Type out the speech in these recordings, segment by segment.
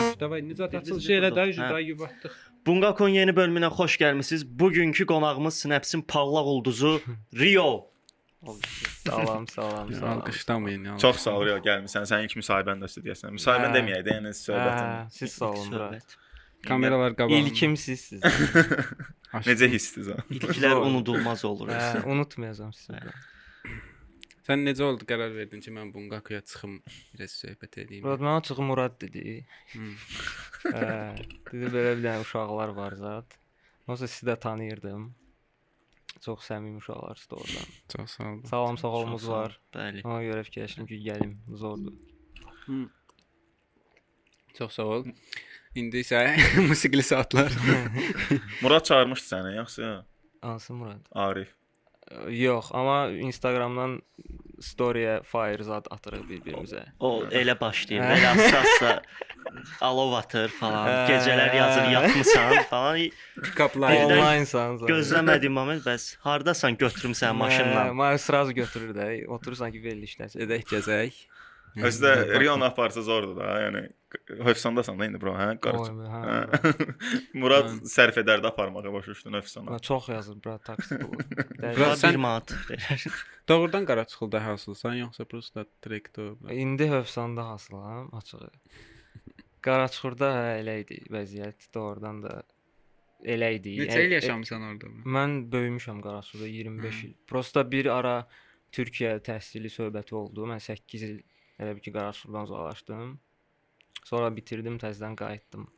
zaten Biz- biz- açılışı elə biz- də yüzü hə. dayı gibi atdıq. Bungakon yeni bölümünə xoş gəlmisiniz. Bugünkü qonağımız Snapsin parlaq ulduzu Rio. Salam, salam, Yəni, salam. Alqışlamayın yəni. Çox sağ ol Rio gəlmisən. Sənin ilk müsahibən də istəyirsən. Müsahibən Hə. deməyək də, yəni söhbətin. Hə, siz sağ olun bura. kameralar qabağında. İlkim sizsiz. Aşkım. Necə hissiniz? ha? İlkilər unudulmaz olur. Hə, unutmayacağam sizi. bura. Sən necə oldu qərar verdin ki, mən Bungakuya çıxım, biraz söhbət edeyim. Murad mənə çığı Murad dedi. Hmm. Hə, dedi belə bir dənə uşaqlar var zat. Onsa sizi də tanıyırdım. Çox səmimi uşaqlar sizdə oradan. Çox sağ ol. Sağlam sağolumuz Çox sağ ol. var. Bəli. Ona görə fikirləşdim ki, gəlim, zordur. Çox sağ ol. İndi isə musiqili saatlar. Murad çağırmışdı səni, yoxsa Hansı Murad? Arif? Yox, amma Instagramdan story-yə fire zad atırıq bir-birimizə. O elə başlayır. Hə. Belə assassa alov atır falan. Hə. Gecələr yazır yatmısan falan. Pikaplar. Birdən Onlaynsan zad. Gözləmədiyim moment bəs hardasan götürüm səni maşınla. Mən sразу götürür də. Oturursan ki, verilişlər edək. Gəzək. Özü də Rion aparsa zordur da, yəni Höfsandasan da indi bro, hə? Qarış. Oy, hə. Murad Hə. sərf edərdi aparmağa başa düşdün Höfsana. Buna çox yazır bura taksi pulu. Bura- Dəyişik. Bura sən- bir manat. Doğrudan qara çıxıldı hasılsan, yoxsa prosta direktor. İndi Hövsanda hasılam açığı. Qaraçuxurda hə elə idi vəziyyət, doğrudan da elə idi. Neçə Yəni, il e, yaşamısan orada? Mən böyümüşəm Qaraçuxurda 25 Hı. il. Prosta bir ara Türkiyə təhsili söhbəti oldu. Mən 8 il elə bil ki Qaraçuxurdan uzaqlaşdım. Sonra bitirdim, təzədən qayıtdım.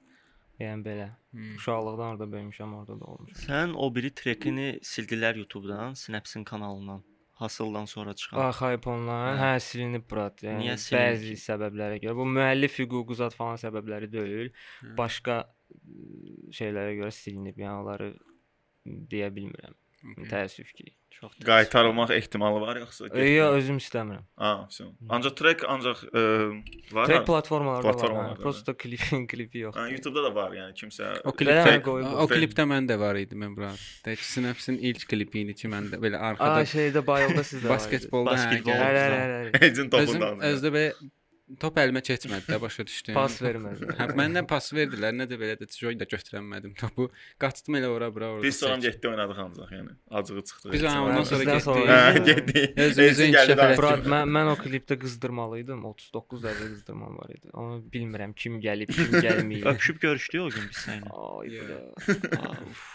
Yəni belə. Hmm. Uşaqlıqdan orada böyümüşəm, orada doğulmuşam. Sən o biri trekini sildilər YouTube-dan, Snapsin kanalından. Hasıldan sonra çıxan. Ah, hype online. Hə, silinib brat. Yəni Niyə silinib bəzi səbəblərə görə. Bu müəllif hüququ zad falan səbəbləri deyil. Hə. Başqa ıı, şeylərə görə silinib. Yəni onları deyə bilmirəm. Təəssüf ki. Çox təəssüf. Qaytarılmaq ehtimalı var yoxsa? getdi? Yo, özüm istəmirəm. Ha, vəssalam. Ancaq track ancaq ə, var. Trek ha? platformalarda var. hə. platformalarda, hə. Prosta klipin klipi Ha, yoxdur. YouTube-da da var, yəni kimsə O klip- Belə hə, Track- qoyub. O Fe- klipdə məndə var idi mən bura. Tək Snapsin ilk klipi idi ki, məndə belə A, arxada şeydə bayılda sizdə. var idi. basketbolda hə, Basketbol. gəl- Hə, hə, hə, hə. Agent Özüm topundan. özdə belə top əlimə keçmədi də başa düşdün. Pas vermədi. Hə, məndən pas verdilər, nə də belə də joy da götürənmədim topu. Qaçdım elə ora bura orada. Biz sonra çək. getdi oynadıq ancaq, yəni acığı çıxdı. Biz hə, ondan sonra Bizdən getdik. sonra- Hə, Hə, getdi. Özümüzü Özü inkişaf gəldi daha- elətdik. Brad, mən, mən o klipdə qızdırmalı idim. 39 dəqiqə qızdırmam var idi. Onu bilmirəm kim gəlib, kim gəlməyib. Öpüşüb görüşdük o gün biz səninlə. Ay, Yeah. bura. Aa, uf.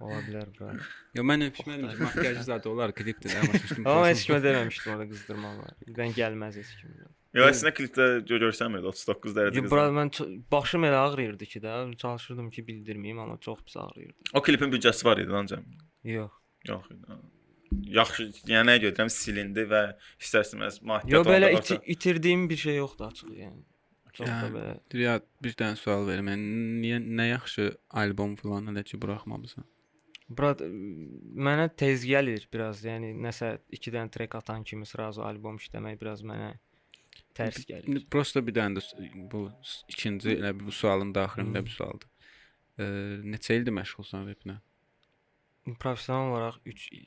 Ola bilər bura. Yo mən öpüşmədim, ki, makyajlı zad olar klipdir də başa düşdün. Amma heç kimə deməmişdim ona qızdırmalar. Birdən gəlməz heç kim. Yox, əslində klipdə gö- görsənmirdi 39 dərəcə. Yo, bura mən ço- başım elə ağrıyırdı ki də, çalışırdım ki bildirməyim, amma çox pis ağrıyırdı. qızı. O klipin büdcəsi var idi ancaq. Yox. Yox idi. ha. Yaxşı, yəni nəyə görürəm silindi və istərsiniz maddi Yo belə iti, itirdiyim bir şey yoxdu açığı yəni. Çox da Yəni, belə. Dünya bir dənə sual verim. Yəni, niyə nə yaxşı albom falan elə ki buraxmamısan? Bura mənə tez gəlir biraz. Yəni nəsə 2 dənə trek atan kimi sразу albom işləmək biraz mənə tərs gəlir. İndi prosta bir dənə də s- bu s- ikinci elə bu sualın daxilində bir sualdır. E, neçə ildir məşğulsan vebinə? Professional olaraq 3 il.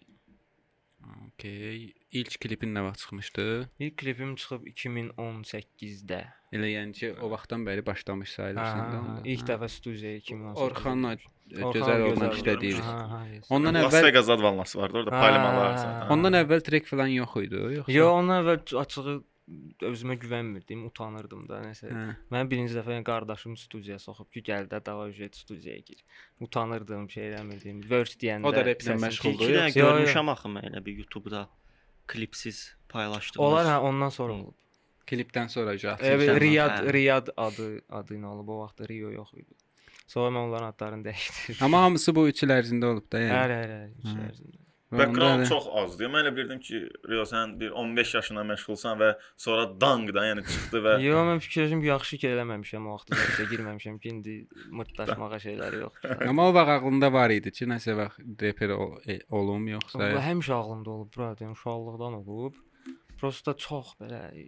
Okay. İlk klipin nə vaxt çıxmışdı? İlk klipim çıxıb 2018-də. Elə yəni ki, Hə. o vaxtdan bəri başlamış sayılırsan da. onda. ilk dəfə studiyaya 2018. Orxanla e, gözəl oğlan Gözəl işlədiyiz. Hə. olmuş. Ondan Ondan əvvəl Las əvvəl- Vegas advanlası vardı orada, Ha, palmalar ha, zaten. ha. Ondan Ondan əvvəl trek falan yox idi, yoxsa? Yo, ondan əvvəl açığı özümə güvənmirdim, utanırdım da nəsə. Hə. Mən birinci dəfə yəni qardaşım studiyaya soxub ki, gəl də dava ücret studiyaya gir. Utanırdım, şey eləmirdim. Verse deyəndə. O da raplə səsim məşğul kik- oldu, İki dənə yoxsa- Yo, yo. görmüşəm axı mən elə bir YouTube-da klipsiz paylaşdığımız. Onlar hə ondan sonra olub. Klipdən sonra cəhət. Elə Hə. bir Riyad, Riyad adı adı ilə olub. O vaxt da Rio yox idi. Sonra mən onların adlarını dəyişdirdim. Amma hamısı bu 3 il ərzində olub da, yəni. Hər hər hər üç il Hə. ərzində. Və onda Background elə- çox azdı. Mən elə bilirdim ki, Rio sən bir 15 yaşına məşğulsan və sonra dang da, yəni çıxdı və Yo, mən fikirləşdim ki, yaxşı ki eləməmişəm o vaxt da girməmişəm ki, indi mırtdaşmağa şeyləri yoxdur. Amma o vaxt ağlında var idi ki, nəsə vaxt reper ol- e, olum yoxsa. Bu həmişə ağlımda olub, bura deyim, uşaqlıqdan olub. Prosta çox belə e,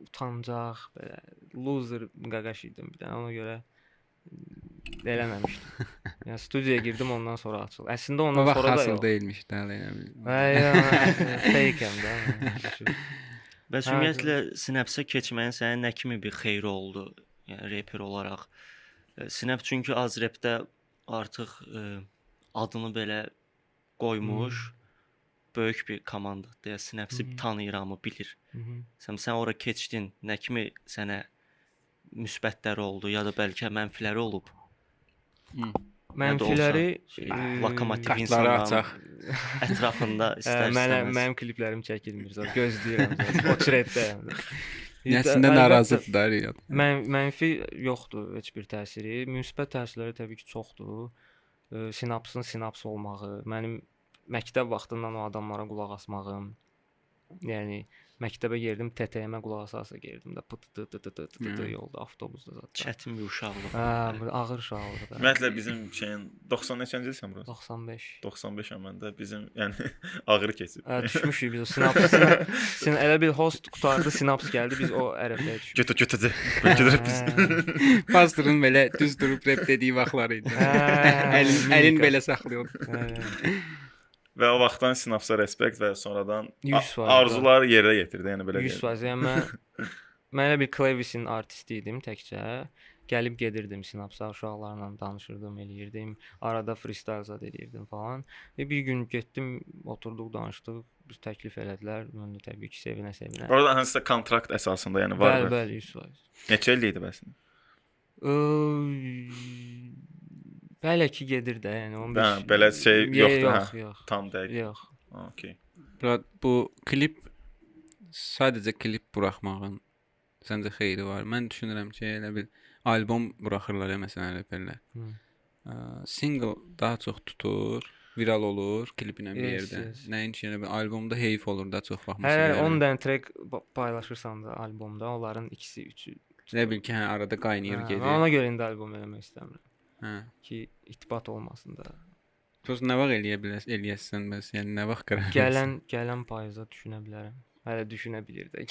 utancaq, belə loser qaqaş idim bir dənə. Ona görə e, eləməmişdim. yəni studiyaya girdim, ondan sonra açıldı. Əslində O ondan vaxt sonra da hasıl hə, yəni. yox. Hə, deyilmiş də, elə bilmirəm. Ay, fake-əm də. yəni. Bəs Hə, ümumiyyətlə Snapsə keçməyin sənin nə kimi bir xeyri oldu? Yəni reper olaraq E, Snap çünki Azrepdə artıq e, adını belə qoymuş Hmm. böyük bir komanda. Deyə Snap-si Mhm. tanıyır hamı, bilir. Mhm. Sən sən ora keçdin, nə kimi sənə müsbətləri oldu ya da bəlkə mənfiləri olub. Mənfiləri şey, eee, lokomotiv Kartları insanların açaq. ətrafında Ə, istər Hə, mənə istəməz. mənim kliplərim çəkilmir. zaten, Gözləyirəm. zaten, O çirətdəyəm. Nəsində yəni. narazıdır da Riyad. Mən mənfi yoxdur heç bir təsiri. Müsbət təsirləri təbii ki, çoxdur. Ə, Sinapsın sinaps olması, mənim məktəb vaxtından o adamlara qulaq asmağım. Yəni məktəbə girdim, TTM qulaq asasa girdim də pıt tı tı tı tı tı tı Hmm. yolda avtobusda zaten. Çətin bir uşaqlıq. Hə, bu ağır şahlıqdır. Ümumiyyətlə bizim şeyin 90 neçənci ilsən bura? 95. 95 əməndə bizim yəni ağrı keçib. Ə, düşmüşük biz o sinaps. sina- Sin elə bir host qutardı, sinaps gəldi, biz o ərəfəyə düşmüşük. Götə götə. Götə biz. Pastorun belə düz durub rep dediyi vaxtlar idi. Hə, Əlin əlin belə saxlayırdı. Hə. Və o vaxtdan sinapsa respekt və sonradan a- 100% arzuları yerə yetirdi, yəni belə. 100 deyim. faiz. Yəni mən mən elə bir klavisin artisti idim təkcə. Gəlib gedirdim sinapsa uşaqlarla danışırdım, eləyirdim. Arada freestyle zad eləyirdim falan. Və bir gün getdim, oturduq, danışdıq. Biz təklif elədilər. Mən də təbii ki, sevinə-sevinə. Orada hansısa kontrakt əsasında, yəni var. Bəli, və- bəli, 100 faiz. Neçə il idi bəs? Bəli ki, gedir də, yəni 15. Hə, belə şey Ye- yoxdur, yox, hə. yox. Tam dəqiq. Yox. Okay. Murad, bu klip sadəcə klip buraxmağın səncə xeyri var? Mən düşünürəm ki, elə bil albom buraxırlar ya məsələn reperlər. Hı. Ə, Single daha çox tutur, viral olur klipinə bir Yes, yerdə. yes. Hə, Nəinki elə bil albomda heyf olur da çox vaxt. Hər məsələn, hər elə 10 bil- dənə trek pa- paylaşırsan da albomda, onların ikisi, üçü. Elə bil ki, hə, arada qaynayır Hə, mən gedir. Ona görə indi albom eləmək istəmirəm. Hə. ki itibat olmasın da. Tos nə vaxt eləyə biləsən, eləyəsən bəs, yəni nə vaxt qərar. verəsən? Gələn gələn payıza düşünə bilərəm. Hələ düşünə bilir də.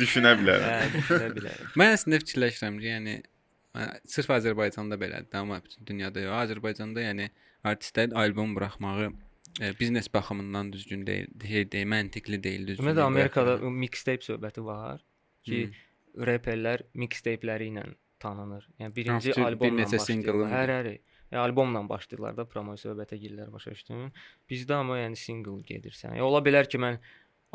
Düşünə bilərəm. Hə, düşünə bilərəm. Mən əslində fikirləşirəm ki, yəni ə, sırf Azərbaycanda belədir, amma bütün dünyada yox. Azərbaycanda yəni artistlərin albom buraxmağı ə, biznes baxımından düzgün deyil, deyil, deyil məntiqli deyil, düzgün. Ümumiyyətlə deyil Amerikada buraxmağı. mixtape söhbəti var ki, Hı. hmm. reperlər mixtape'ləri ilə tanınır. Yəni birinci After bir albomla neçə başlayırlar. single'ın- Hər hər yəni, albomla başlayırlar da promo söhbətə girlər başa düşdün? Bizdə amma yəni single gedirsən. Yəni, ola bilər ki, mən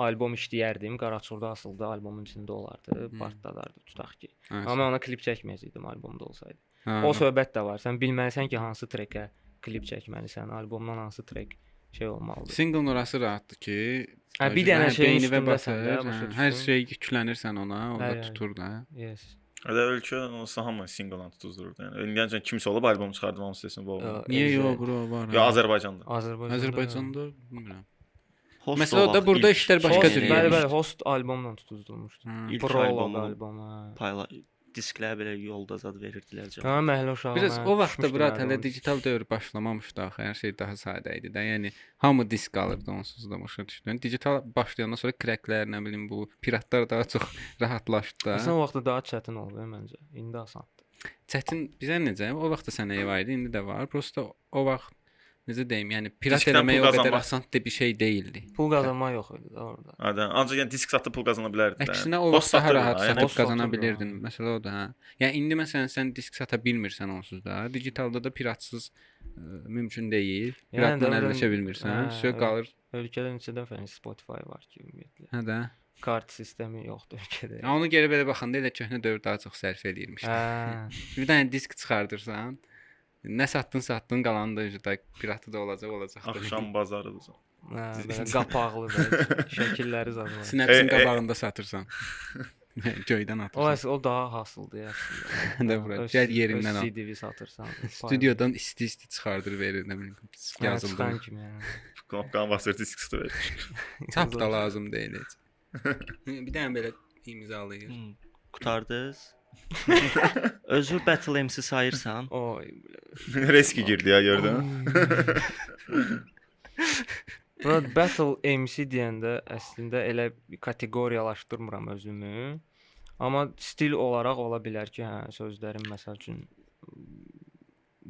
albom işləyərdim, Qaraçurda asıldı, albomun içində olardı, Hmm. hmm. partladardı tutaq ki. Hə, Amma mən ona klip çəkməyəcəydim albomda olsaydı. hə, O söhbət də var. Sən bilməlisən ki, hansı trekə klip çəkməlisən, albomdan hansı trek şey olmalıdır. Single nurası rahatdır ki, Hə, bir dənə şeyin üstündəsən də, başa hə, düşdün? Hə, hər şey yüklənirsən ona, o da Bəli, bəli. tutur da. Yes. Hələ ölkə olsa hamı single-dan tutuzdururdu. Yəni indiyəcən kimsə olub albom çıxardmam sesini bu. Ə, Niyə Elizə- yox, bro, var. Ya hə. Azərbaycanda. Hə, E, Azərbaycanda. Azərbaycanda bilmirəm. Host Məsələ o o da vaxt burada ilk- işlər başqa Host, cür Yəni, Bəli, gedir. bəli, host albomla tutuzdurmuşdu. Hə. İlk Proloq albomu- albomə. Payla disklər belə yolda zad verirdilər canım. Hə, məhəllə uşağı. Biraz mən o vaxtda düşmüşdüm brat albomdan. hələ digital dövr başlamamışdı axı. Hər şey daha sadə idi də. Yəni hamı disk alırdı onsuz da başa düşdün. Digital başlayandan sonra kreklər, nə bilim bu piratlar daha çox rahatlaşdı Əslində da. o vaxtda daha çətin oldu ə, məncə. İndi asandır. Çətin bizə necə? O vaxt da sənə ev idi, indi də var. Prosta o vaxt necə deyim, yəni pirat Diskdən eləmək pul o qədər qazanmaq. asan da bir şey deyildi. Pul qazanmaq yox idi də orada. Adə, ancaq yəni disk satıb pul qazana bilərdi. də. Əksinə o Host vaxt daha satırdı da, rahat yəni. satıb Post qazana satırdı, bilirdin. hə. Məsələ o da. Hə. Yəni indi məsələn sən disk sata bilmirsən onsuz da. Digitalda da piratsız ə, mümkün deyil. Yəni Piratla dövrün- əlləşə bilmirsən. Hə, Şey evet. qalır. Ölkədə neçə dəfə Spotify var ki, ümumiyyətlə. Hə də. Kart sistemi yoxdur ölkədə. Ya onu geri belə baxanda elə köhnə dövr daha çox sərf eləyirmiş. Hə. Bir dənə disk çıxardırsan, nə satdın, satdın, qalanı da üzdə piratı da olacaq, olacaq. da. Axşam bazarıdır. Hə, Siz- belə qapaqlı belə şəkilləri zadı var. sinəpsin E, e. qabağında satırsan. Hə, Göydən O atırsan. əsl o daha hasıldı ya. əslində. Də Hə, bura, öz- gəl yerindən öz al. CD-vi satırsan. Stüdyodan isti-isti çıxardır verir, nə bilim, yazıldı yazıldı. kimi. yəni. Knopkanı basır disk satır. Çap da Yazıldı. lazım deyil heç. Hə, Bir dənə belə imzalayır. Hmm, Qutardınız. Özü Battle MC sayırsan. Oy. Riski girdi ya gördün. Hə? mü? Bura Battle MC deyəndə əslində elə bir kateqoriyalaşdırmıram özümü. Amma stil olaraq ola bilər ki, hə, sözlərim məsəl üçün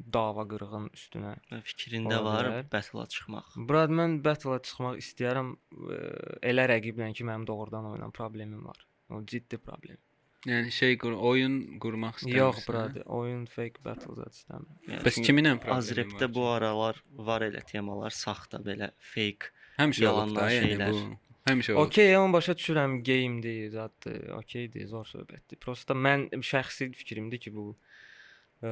dava qırığın üstünə Fikrində Ola var bilər. battle-a çıxmaq. Brad mən battle-a çıxmaq e, istəyirəm. Ə, Elə rəqiblə ki, mənim doğrudan oynan problemim var. O ciddi problem. Yəni şey qur, oyun qurmaq istəmirsən. Yox hə? brader, oyun fake battles istəmirəm. Yəni, Bəs çünki kiminlə problemin Azrepdə var? bu aralar var elə temalar, saxta belə fake. həmişə olub da, yalanlar, yəni şeylər. bu həmişə olub. Okey, onu başa düşürəm, game-dir, zaddır, okeydir, zor söhbətdir. Prosta mən şəxsi fikrimdir ki, bu ə,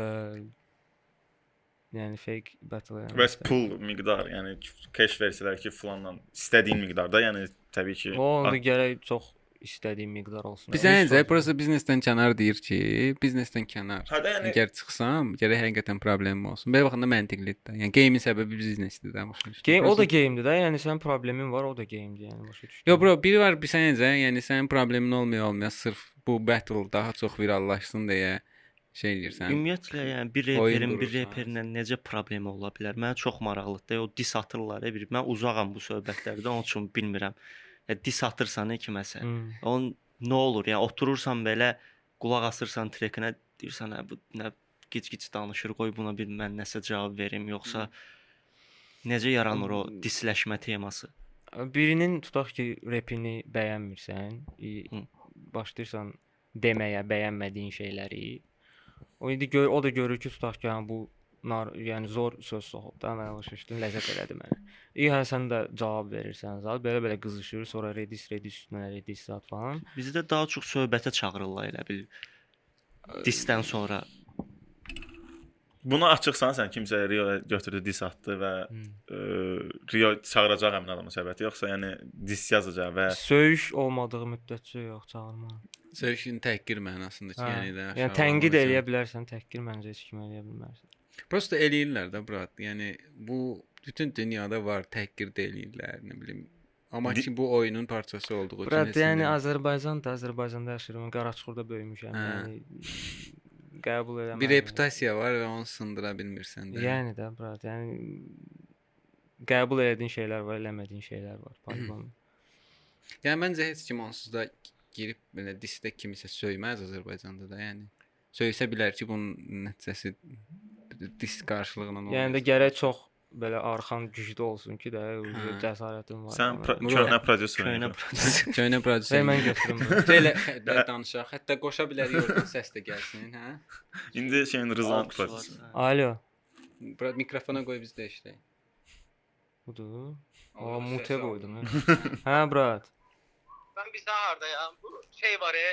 yəni fake battle. yəni Bəs istəmirəm. pul miqdar, yəni cash versələr ki, falandan istədiyin miqdarda, yəni təbii ki. O onda gərək çox istədiyim miqdar olsun. Bizə necə? Prosta biznesdən kənar deyir ki, biznesdən kənar. Hədə yəni Əgər çıxsam, gərək həqiqətən problemim olsun. Belə baxanda məntiqlidir də. Yəni geyimin səbəbi biznesdir də başa düşdün. Game, o Prosta- da game-dir də. Yəni sənin problemin var, o da game-dir, yəni başa düşdüm. Yo bro, biri var bir sənə necə, yəni sənin problemin olmaya olmaya sırf bu battle daha çox virallaşsın deyə şey eləyirsən. Ümumiyyətlə, yəni bir oyun reperin bir qurursan. reperlə necə problemi ola bilər? Mənə çox maraqlıdır. O dis atırlar, e, bir. Mən uzağam bu söhbətlərdən, onun üçün bilmirəm. Ya dis atırsan e, kiməsə. Hmm. On nə olur? Yəni oturursan belə qulaq asırsan trekinə, deyirsən, "Hə bu nə gic-gic danışır, qoy buna bir mən nəsə cavab verim, yoxsa necə yaranır o Hmm. disləşmə teması?" Birinin tutaq ki, repini bəyənmirsən, i- Hı. başlayırsan deməyə bəyənmədiyin şeyləri. O indi gör, o da görür ki, tutaq ki, hə bu nar, yəni zor söz soxub da mənə başa düşdün, ləzzət elədi mənə. İyi, hə sən də cavab verirsən, zat belə-belə qızışır, sonra redis redis üstünə redis zat falan. Bizdə daha çox söhbətə çağırırlar elə bil. Disdən sonra buna açıqsan sən kimsə Rio götürdü dis atdı və Hmm. ə, Rio çağıracaq həmin adamın səbəti, yoxsa yəni dis yazacaq və Söyüş olmadığı müddətcə yox, çağırma. Sövşin təhqir mənasında ki, Hə, yəni də. Yəni tənqid eləyə bilərsən, təhqir məncə heç kim eləyə bilməz. Prosta eləyirlər də brat. Yəni bu bütün dünyada var, təhqir də eləyirlər, nə bilim. Amma Di- ki bu oyunun parçası olduğu üçün. heç Burada nə yəni demir. Azərbaycan da Azərbaycanda yaşayıram. Qaraçuxurda böyümüşəm. Hə. Yəni qəbul edirəm. bir reputasiya var və onu sındıra bilmirsən də. Yəni də burada yəni qəbul etdiyin şeylər var, eləmədiyin şeylər var. Pardon. Yəni məncə heç kim onsuz da girib belə disdə kimisə söyməz Azərbaycanda da, yəni. Söysə bilər ki, bunun nəticəsi dis qarşılığına nə yəni də olacaq. gərək çox belə arxan güclü olsun ki də Hə. o cəsarətin var. hə, sən pro- Bro. köhnə prodüser köynə oynayırsan. köynə prodüser. Şey mən götürüm. bunu. Belə danışaq, hətta qoşa bilərik oradan səs də gəlsin, hə? İndi şeyin Rızan alqış var. prodüser. Alo. Bura mikrofona qoy biz də eşidək. Budur. O Orada mute səs qoydum. alınır. Hə, brat. Ben bir daha aradayım. Bu şey var ya.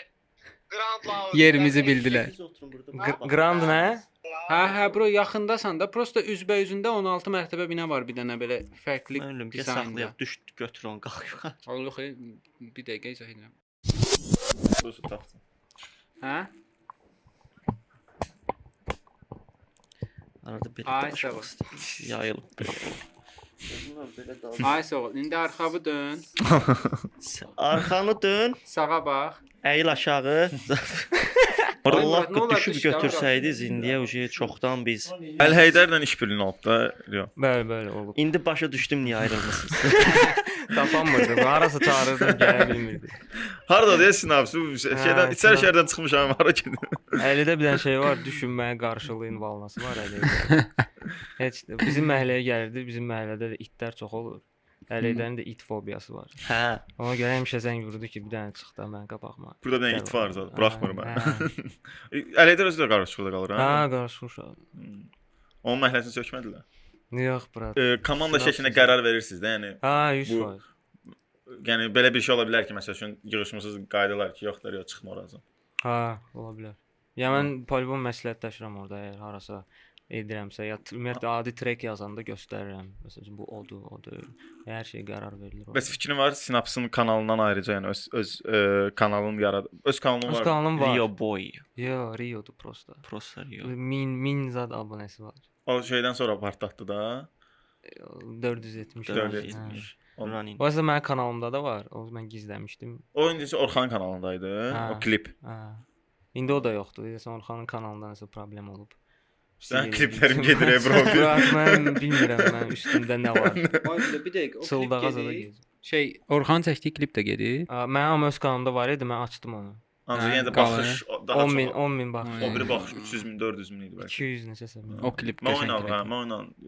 Grand Law. Yerimizi bildilər. Gr- Grand nə? Hə, hə, bro, yaxındasan da, prosta üzbəüzündə 16 mərtəbə bina var bir dənə belə fərqli Mən ölüm, gəl dizaynda. saxlayaq, düş götür onu, qalx yuxarı. Allah yox, e, bir dəqiqə izah edirəm. Dur, dur, tapdım. Hə? Arada belə Ay, danışmaq sağ ol. istəyirəm. Yayılıb belə. Bunlar belə danışır. Ay sağ ol. İndi arxavı dön, Sə- Arxanı dön, sağa bax. əyil aşağı. Allah Nə qı olar, düşüb düş, yavrum. götürsəydi indiyə uje çoxdan biz. Əl Heydərlə iş birliyi olub da Rio. Bəli, bəli, olub. İndi başa düşdüm niyə ayrılmısınız. Tapanmırdı. Harasa çağırırdım, gələ bilmirdi. Harda deyə sinapsi bu şey- Hə, şeydən içəri sinap- şəhərdən çıxmışam hara gedir. Əlində bir dənə şey var, düşünməyə qarşılığın valnası var əlində. Heç də- bizim məhəlləyə gəlirdi, bizim məhəllədə də itlər çox olur. Əlindənin də it fobiyası var. Hə, Ona görə həmişə zəng vurdu ki, bir dənə çıx da mən qabaqma. Burada bir dənə it var zat, buraxmır mən. Hə, Əl Heydər özü də qarışıqda qalır ha. hə qarışmışam. Onun məhləsini sökmədilər. Yox, brat. Ə, komanda Sinapsi- şəklinə qərar verirsiniz də, yəni Hə, E, Bu- 100%. yəni belə bir şey ola bilər ki, məsəl üçün yığışmısınız qaydalar ki, yoxdur, yox çıxma oradan. Hə, ola bilər. Ya mən polibon məsləhətləşirəm orada əgər harasa edirəmsə, ya t- ümumiyyətlə adi trek yazanda göstərirəm. Məsələn, bu odur, odur. Hər şey qərar verilir. orada. Bəs fikrin var sinapsın kanalından ayrıca, yəni öz öz ə, kanalın yarad öz kanalın Öz var. kanalım var. Rio boy. Yo, Rio'du prosta. Prosta Rio. Min min zad abunəsi var. O şeydən sonra partlatdı da. 470. 470. 470. Onun- Running. O isə mənim kanalımda da var. Onu mən gizləmişdim. O indi Orxan kanalındaydı. Hə. O klip. Hə. İndi o da yoxdur. Deyəsən Orxanın kanalında nəsə problem olub. Sən kliplərin Hə, gedir, ey, bro. Bırak, mən bilmirəm mən üstümdə nə var. Ay bir dəqiqə, o klip Çıldağa zada gedir. gedir. Hə, Şey, Orxan çəkdiyi klip də gedir. Ə, Mənim amma öz kanalımda var idi, mən açdım onu. A, Ancaq Hə, yenə də qalanı. baxış o- daha 10 min, çox. 10 min bax. O O biri baxış 300 min, 400 min idi bəlkə. 200 necəsə. min. O klip Mən qəşəng oynadım, hə, klip. mən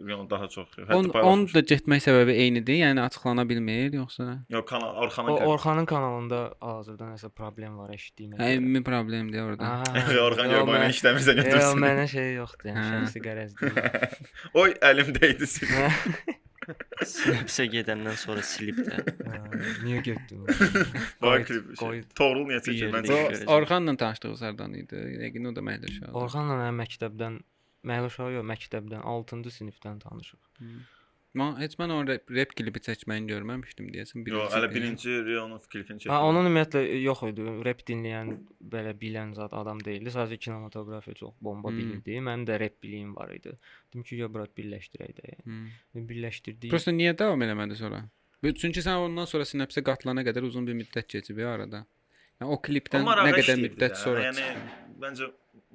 oynadım daha çox. On, Hətta on paylaşmışdım. da getmək səbəbi eynidir, yəni açıqlana bilmir, yoxsa? Yox, kanal O Orxanın kanalı. Orxanın kanalında hazırda nəsə problem var eşitdiyimə. Hə, ümumi problemdir orada. Yox, Orxan gör boyuna işləmirsən Yox, götürsün. mənə şey yoxdur, yəni Hə. şəxsi qərəz deyil. Oy əlimdə idi. sil. Hə, Sinapsə gedəndən sonra silib də. hə, Niyə getdin? Bax Qoyut, klip. şey, qoyut. Toğrul niyə çəkir? Bir Mən yerdə çəkirəm. görəcəm. Orxanla tanışdığı Sardan idi. Yəqin o da məndə uşaqdır. Orxanla mən məktəbdən Məhəl uşağı yox, məktəbdən 6-cı sinifdən tanışıq. Mən heç mən o rep, rep klipi çəkməyini görməmişdim deyəsən. Yox, hələ birinci Rionun klipini çəkir. Ha, onun ümumiyyətlə yox idi. Rep dinləyən, belə bilən zat adam deyildi. Sadəcə kinematografiya çox bomba Hmm. bilirdi. Mənim də rep biliyim var idi. Dedim ki, ya bura birləşdirək də. yəni. Hmm. Birləşdirdik. Prosta niyə davam eləmədi sonra? Bu- Çünki sən ondan sonra sinapsə qatılana qədər uzun bir müddət keçib ya arada. Yəni o klipdən Amma nə rəvaş qədər deyildi müddət də, sonra? Yəni Yəni məncə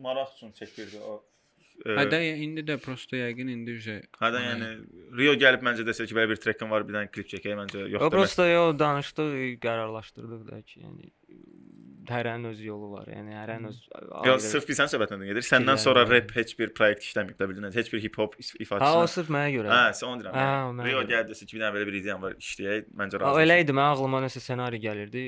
maraq üçün çəkirdi o. Ee, Hədə indi də prosta yəqin indi üzə. Hədə yəni Rio gəlib məncə desə ki, belə bir trekim var, bir dənə klip çəkək məncə yox Yox, deməz. prosta yo danışdıq, qərarlaşdırdıq da ki, yəni hərənin öz yolu var. Yəni hərənin öz Yox, Hmm. sırf bir sən söhbətindən gedir. Səndən Fikirləri sonra var. rep heç bir proyekt işləmir də bilirsən. Heç bir hip hop Ha, o ifaçısı. sırf mənə görə. Hə, sən onu Hə, deyirəm. ona yəni. Rio görə. gəlib desə ki, bir dənə belə bir ideyam var, işləyək, məncə Ha, razı. elə idi, mənim ağlıma nəsə ssenari gəlirdi.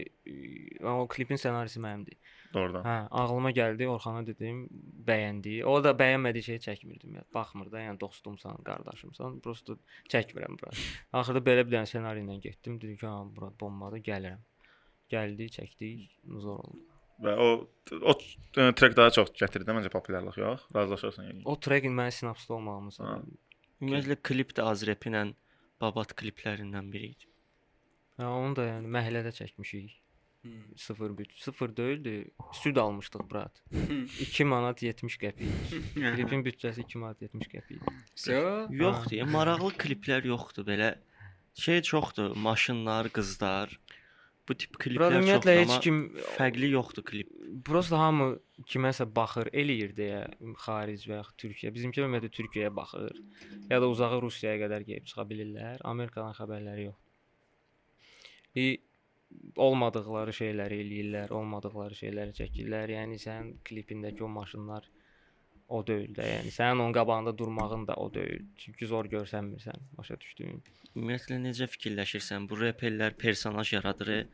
Amma o klipin ssenarisi mənimdir. Doğrudan. Hə, ağlıma gəldi, Orxana dedim, bəyəndi. O da bəyənmədiyi şeyi çəkmirdim. Yəni baxmır da, yəni dostumsan, qardaşımsan, prosta çəkmirəm bura. Axırda belə bir dənə ssenari ilə getdim. Dedim ki, ha, bura bombadır, gəlirəm. Gəldi, çəkdik, zor oldu. Və o o e, trek daha çox gətirdi də məncə populyarlıq yox. Razılaşırsan yəni. O trekin mənə sinapsda olmağımın Ha. səbəbi. Ümumiyyətlə klip də Azrep ilə Babat kliplərindən biri idi. Hə, onu da yəni məhəllədə çəkmişik. Hmm. 0 0 deyildi. Süd almışdıq brat. 2 manat 70 qəpik. Klipin büdcəsi 2 manat 70 qəpik. So, Yoxdur, ya, maraqlı kliplər yoxdur belə. Şey çoxdur, maşınlar, qızlar. Bu tip kliplər Burada ümumiyyətlə çoxdur, heç amma kim fərqli yoxdur klip. prosta hamı kiməsə baxır, eləyir deyə xaric və yaxud Türkiyə. Bizimki ümumiyyətlə Türkiyəyə baxır. Ya da uzağa Rusiyaya qədər gəlib çıxa bilirlər. Amerikanın xəbərləri yox. Bir olmadıqları şeyləri eləyirlər, olmadıqları şeyləri çəkirlər. Yəni sənin klipindəki o maşınlar o deyil də. Yəni sənin onun qabağında durmağın da o deyil. Çünki zor görsənmirsən. Başa düşdün? Ümumiyyətlə necə fikirləşirsən? Bu reperlər personaj yaradır e,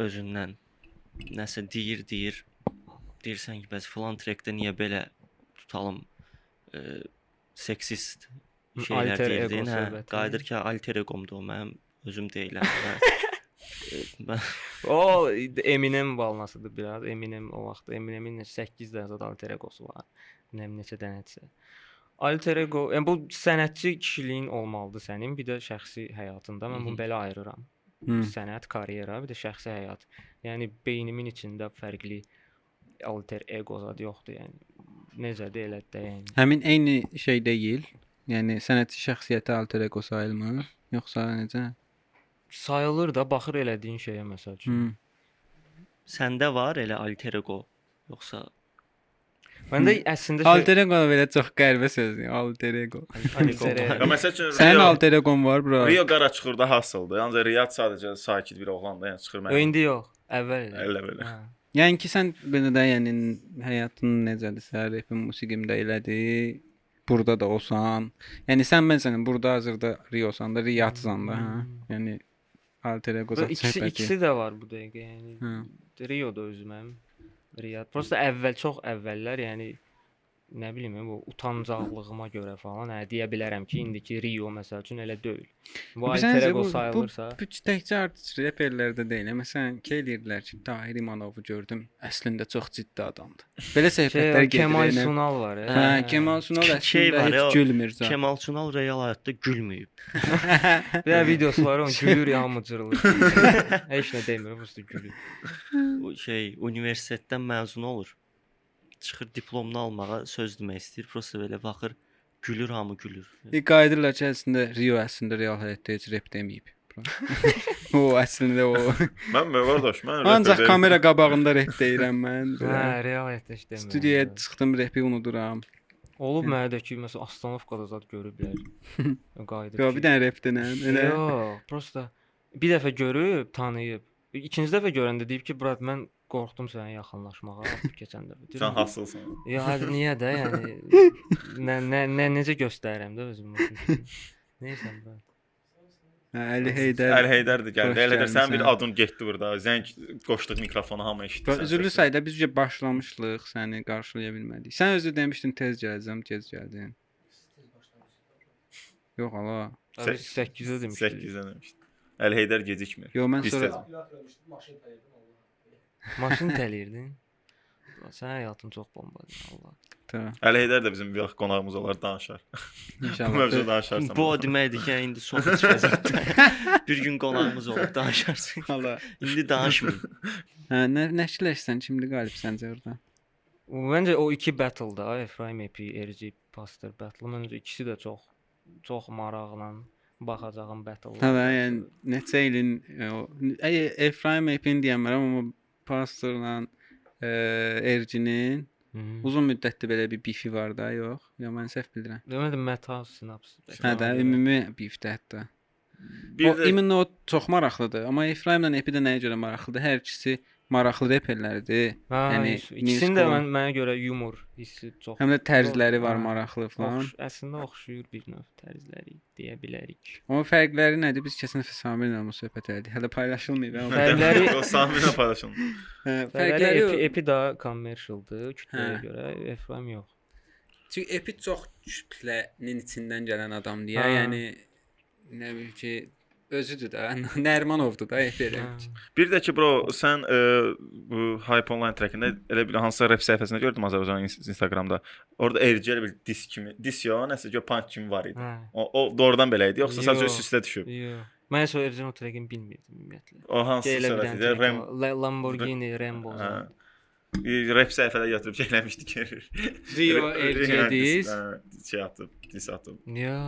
özündən. Nəsə deyir, deyir. Deyirsən ki, bəs filan trekdə niyə belə tutalım? E, seksist şeylər Alter ego deyirdin, hə. söhbəti. Qayıdır ki, alter egomdur o, mənim özüm deyiləm. hə. E, mən O Eminem balnasıdır biraz. Eminem o vaxt Eminemin 8 dənə zad alter egosu var. Nə neçə dənədirsə. Alter ego, yəni bu sənətçi kişiliyin olmalıdır sənin, bir də şəxsi həyatında. Mən bunu Mhm. belə ayırıram. Sənət, karyera, bir də şəxsi həyat. Yəni beynimin içində fərqli alter ego zad yoxdur, yəni necədir elə də yəni. həmin eyni şey deyil. Yəni sənətçi şəxsiyyəti alter ego sayılmır, yoxsa necə? Sayılır da baxır elədiyin şeyə məsəl Mhm. üçün. Hmm. Səndə var elə alter ego yoxsa Məndə əslində Alter ego belə çox qəribə sözdür, alter ego. alter ego var? Ya məsəl üçün Sənin Rio, alter egon var bura. Rio qara çıxırda hasıldı. Ancaq Riyad sadəcə sakit bir oğlandı, yəni çıxır Yo, mənim. indi yox, əvvəl elə. Elə belə. Hə. Yəni ki sən belə də yəni həyatın necədirsə, repin musiqimdə elədi. Burada da olsan. Yəni sən məsələn burada hazırda Riosan da, Riyadsan da, hə. Yəni alter ego Bu ikisi, söhbəti. ikisi də var bu dəqiqə, yəni. Hə. Rio da özüməm. Riyad. Prosta əvvəl çox əvvəllər, yəni nə bilim bu utancaqlığıma görə falan hə deyə bilərəm ki, indiki Rio məsəl üçün elə deyil. Bu Bir alter sənəcə ego bu- bu- sayılırsa, Bu təkcə artist reperlərdə deyil. hə. Məsələn, Kelirlər ki, Tahir İmanovu gördüm. Əslində çox ciddi adamdır. Belə şey, söhbətlər gedir. Kemal yəni. Sunal var. Hə, Kemal Sunal Şey əslində var, o- heç gülmür zə. Kemal Sunal real həyatda gülməyib. Bir də videosu var, onun gülür, hamı cırılır. Heç nə demir, prosta gülür. Bu şey universitetdən məzun olur. Çıxır diplomunu almağa söz demək istəyir. Prosta belə baxır, gülür hamı gülür. Qayıdırlar ki, əslində Rio əslində real həyatda heç rep deməyib. o əslində o. Mən belə qardaş, mən Ancaq rapper deyiləm. kamera qabağında rep deyirəm mən. Hə, belə. realitetdə heç demir. Studiyaya çıxdım repi unuduram. olub mənə də ki, məsəl Astanovkada zad görüblər. Qayıdır. Yo, bir dənə rep denən. Elə. Yox, prosta bir dəfə görüb, tanıyıb. İkinci dəfə görəndə deyib ki, "Brad, mən qorxdum sənə yaxınlaşmağa keçən dəfə. Dedim, Sən hasılsan. Ya hadi niyə də yəni nə, nə, nə necə göstərirəm də özümü. Nəyəsən bura? Hə, Əli Heydər. Əl Heydərdir gəldi. Xoş Əl Heydər sənin bir gəlmisən. adın getdi burada. Zəng qoşduq mikrofona hamı eşitdi. Bə- Üzürlü sayda biz gecə başlamışlıq, səni qarşılaya bilmədik. Sən özü demişdin tez gələcəm, gec gəldin. Yox ala. Abi Sək- 8-də demişdik. 8-dən demişdi. Əl Heydər gecikmir. Yox mən Biz sonra tez- Maşın təliyirdin. Sənin həyatın çox bombadır. Allah. Ta, Əl Heydər də bizim bir vaxt qonağımız olar danışar. Bu inşallah. mövzuda danışarsan. Bu o deməkdir ki, yəni indi sohbət vəziyyətdə bir gün qonağımız olub danışarsın. Hala. İndi danışmayın. Hə, nə nəşləşsən şimdi qalib səncə orada? Məncə o iki battle-da Efraim Epi, RG Pastor battle məncə ikisi də çox çox maraqla baxacağım battle. Hala, yəni neçə ilin e, o Ey, Efraim Epin deyəmirəm amma pastorla e, Ercinin uzun müddətli belə bir bifi var da, yox. Ya mən səhv bilirəm. Deməli meta sinaps. Hə də ümumi bifdə hətta. Bir o, də imin o çox maraqlıdır. Amma Efraimlə Epi də nəyə görə maraqlıdır? Hər ikisi maraqlı reperlərdir. Hə, yəni yəni ikisinin də musiqi- mən, mənə görə yumor hissi çox Həm də tərzləri var Hə, maraqlı falan. Oxş, əslində oxşuyur bir növ tərzləri deyə bilərik. Amma fərqləri nədir? Biz keçən dəfə Samirlə bu söhbət elədik. Hələ paylaşılmayıb amma. Fərq- Fərqləri- o Samirlə paylaşın. Hə, Fərqləri Fərqləri epi, o- epi daha commercial-dır kütləyə Hə. görə, Efraim yox. Çünki Epi çox kütlənin içindən gələn adamdır. Ya. Ha. Yəni nə bilim ki, özüdür də. Nərmanovdur da Epi. elə bil ki. Hə. Bir də ki bro, sən e, bu Hype Online trackində elə bil hansısa rep səhifəsində gördüm Azərbaycan ins- Instagramda. Orada RG elə bil dis kimi, dis yo, nəsə gör punk kimi var idi. Hə. O, o doğrudan belə idi, yoxsa sadəcə Yox. üst-üstə düşüb. Yox. Mən isə orijinal track-in bilmirdim ümumiyyətlə. O hansı Elə bir dənə səhifə idi? track Rem var. La- Lamborghini Rambo. Hə. E, rep səhifədə götürüb çəkləmişdi ki. Rio Hə, dis- RGDs. hə, Şey atıb, dis atıb. Ya.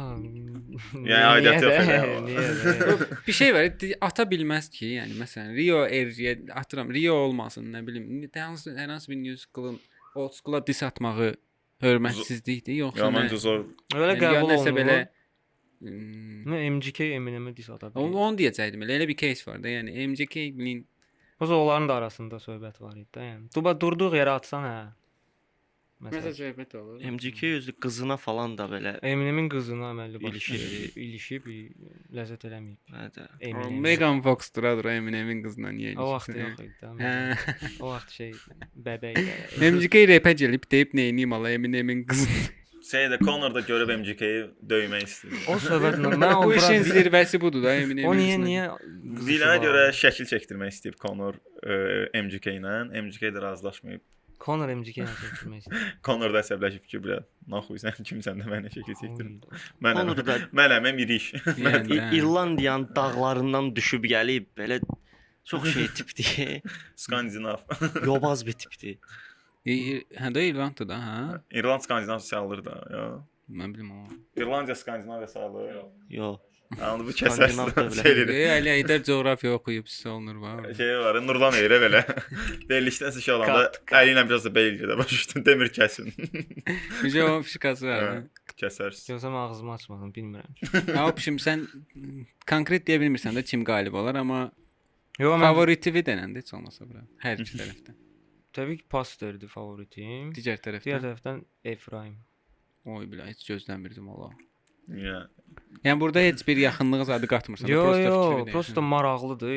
aidiyyəti yox elə o. elə. bir şey var, di- ata bilməz ki, yəni məsələn Rio RG-yə atıram, Rio olmasın, nə bilim, hər hansı hər hansı bir musiqinin old school-a dis atmağı hörmətsizlikdir, yoxsa Ya nə? məncə zor. Belə Yəni, ya qəbul nəsə olunur. belə Belə... Hmm, Nə MGK Eminem-ə dis ata Onu, bilir. onu deyəcəydim. Elə elə bir case var da, yəni MJK-nin Bəs onların da arasında söhbət var idi də, yəni. Duba durduq yerə atsan hə. məsəl söhbət olur. MCK özü qızına falan da belə Eminemin qızına əməlli başlı İlişib. ilişib i- ləzzət eləməyib. Hə də. Amma Eminem. Megan Fox duradır Eminem'in qızla niyə O vaxt ilişkidə? yox idi Hə. də. O vaxt şey bəbək. MJK repə gəlib deyib nə edeyim ala Eminem'in qızı. Şey də Connor da görüb MGK-yi döymək istəyir. O söhbət mən o Bu işin bura- zirvəsi budur da Eminem'in. O niyə qızla. niyə qızışı Dilənə var? görə şəkil çəkdirmək istəyib Connor e, MGK ilə. MGK də razılaşmayıb. Conor MGK ilə çəkilmək istəyir. Connor da əsəbləşib ki, bura naxuy sən kimsən də mənə şəkil çəkdirin. Mənəm. Olur da Mənəm Emirich. Yəni, İ- hə. İrlandiyanın dağlarından düşüb gəlib belə çox şey tipdir. Skandinav. Yobaz bir tipdir. İ- İ- Hə də İrlanddır da, hə? İrland Skandinav sayılır da. Yo. Mən bilmirəm. İrlandiya Skandinav sayılır. Yox. Anı bu Skandinav kəsərsən. dövləti. Şey Ey, Əli Əydər coğrafiya oxuyub sizə olunur var. şey var, Nurlan elə belə. Beləlikdən siz şey olanda Kat, kat. əli ilə biraz da belgə də başa düşdün, demir kəsin. Necə o fişkası var? hə? Hə. Kəsərsən. Gözəm ağzımı açmadım, bilmirəm. Ha, pişim sən konkret deyə bilmirsən də kim qalib olar, amma Yox, mən favoritivi dənəndə heç olmasa bura. Hər iki tərəfdən. təbii ki Pastor'dur favoritim. Digər Digər tərəfdən. tərəfdən Efraim. Oy bilə, heç gözləmirdim ola. Yeah. Yəni burada heç bir yaxınlığa zadı qatmırsan. da, Yo prosta fikri yo, deyirsən. prosta maraqlıdır.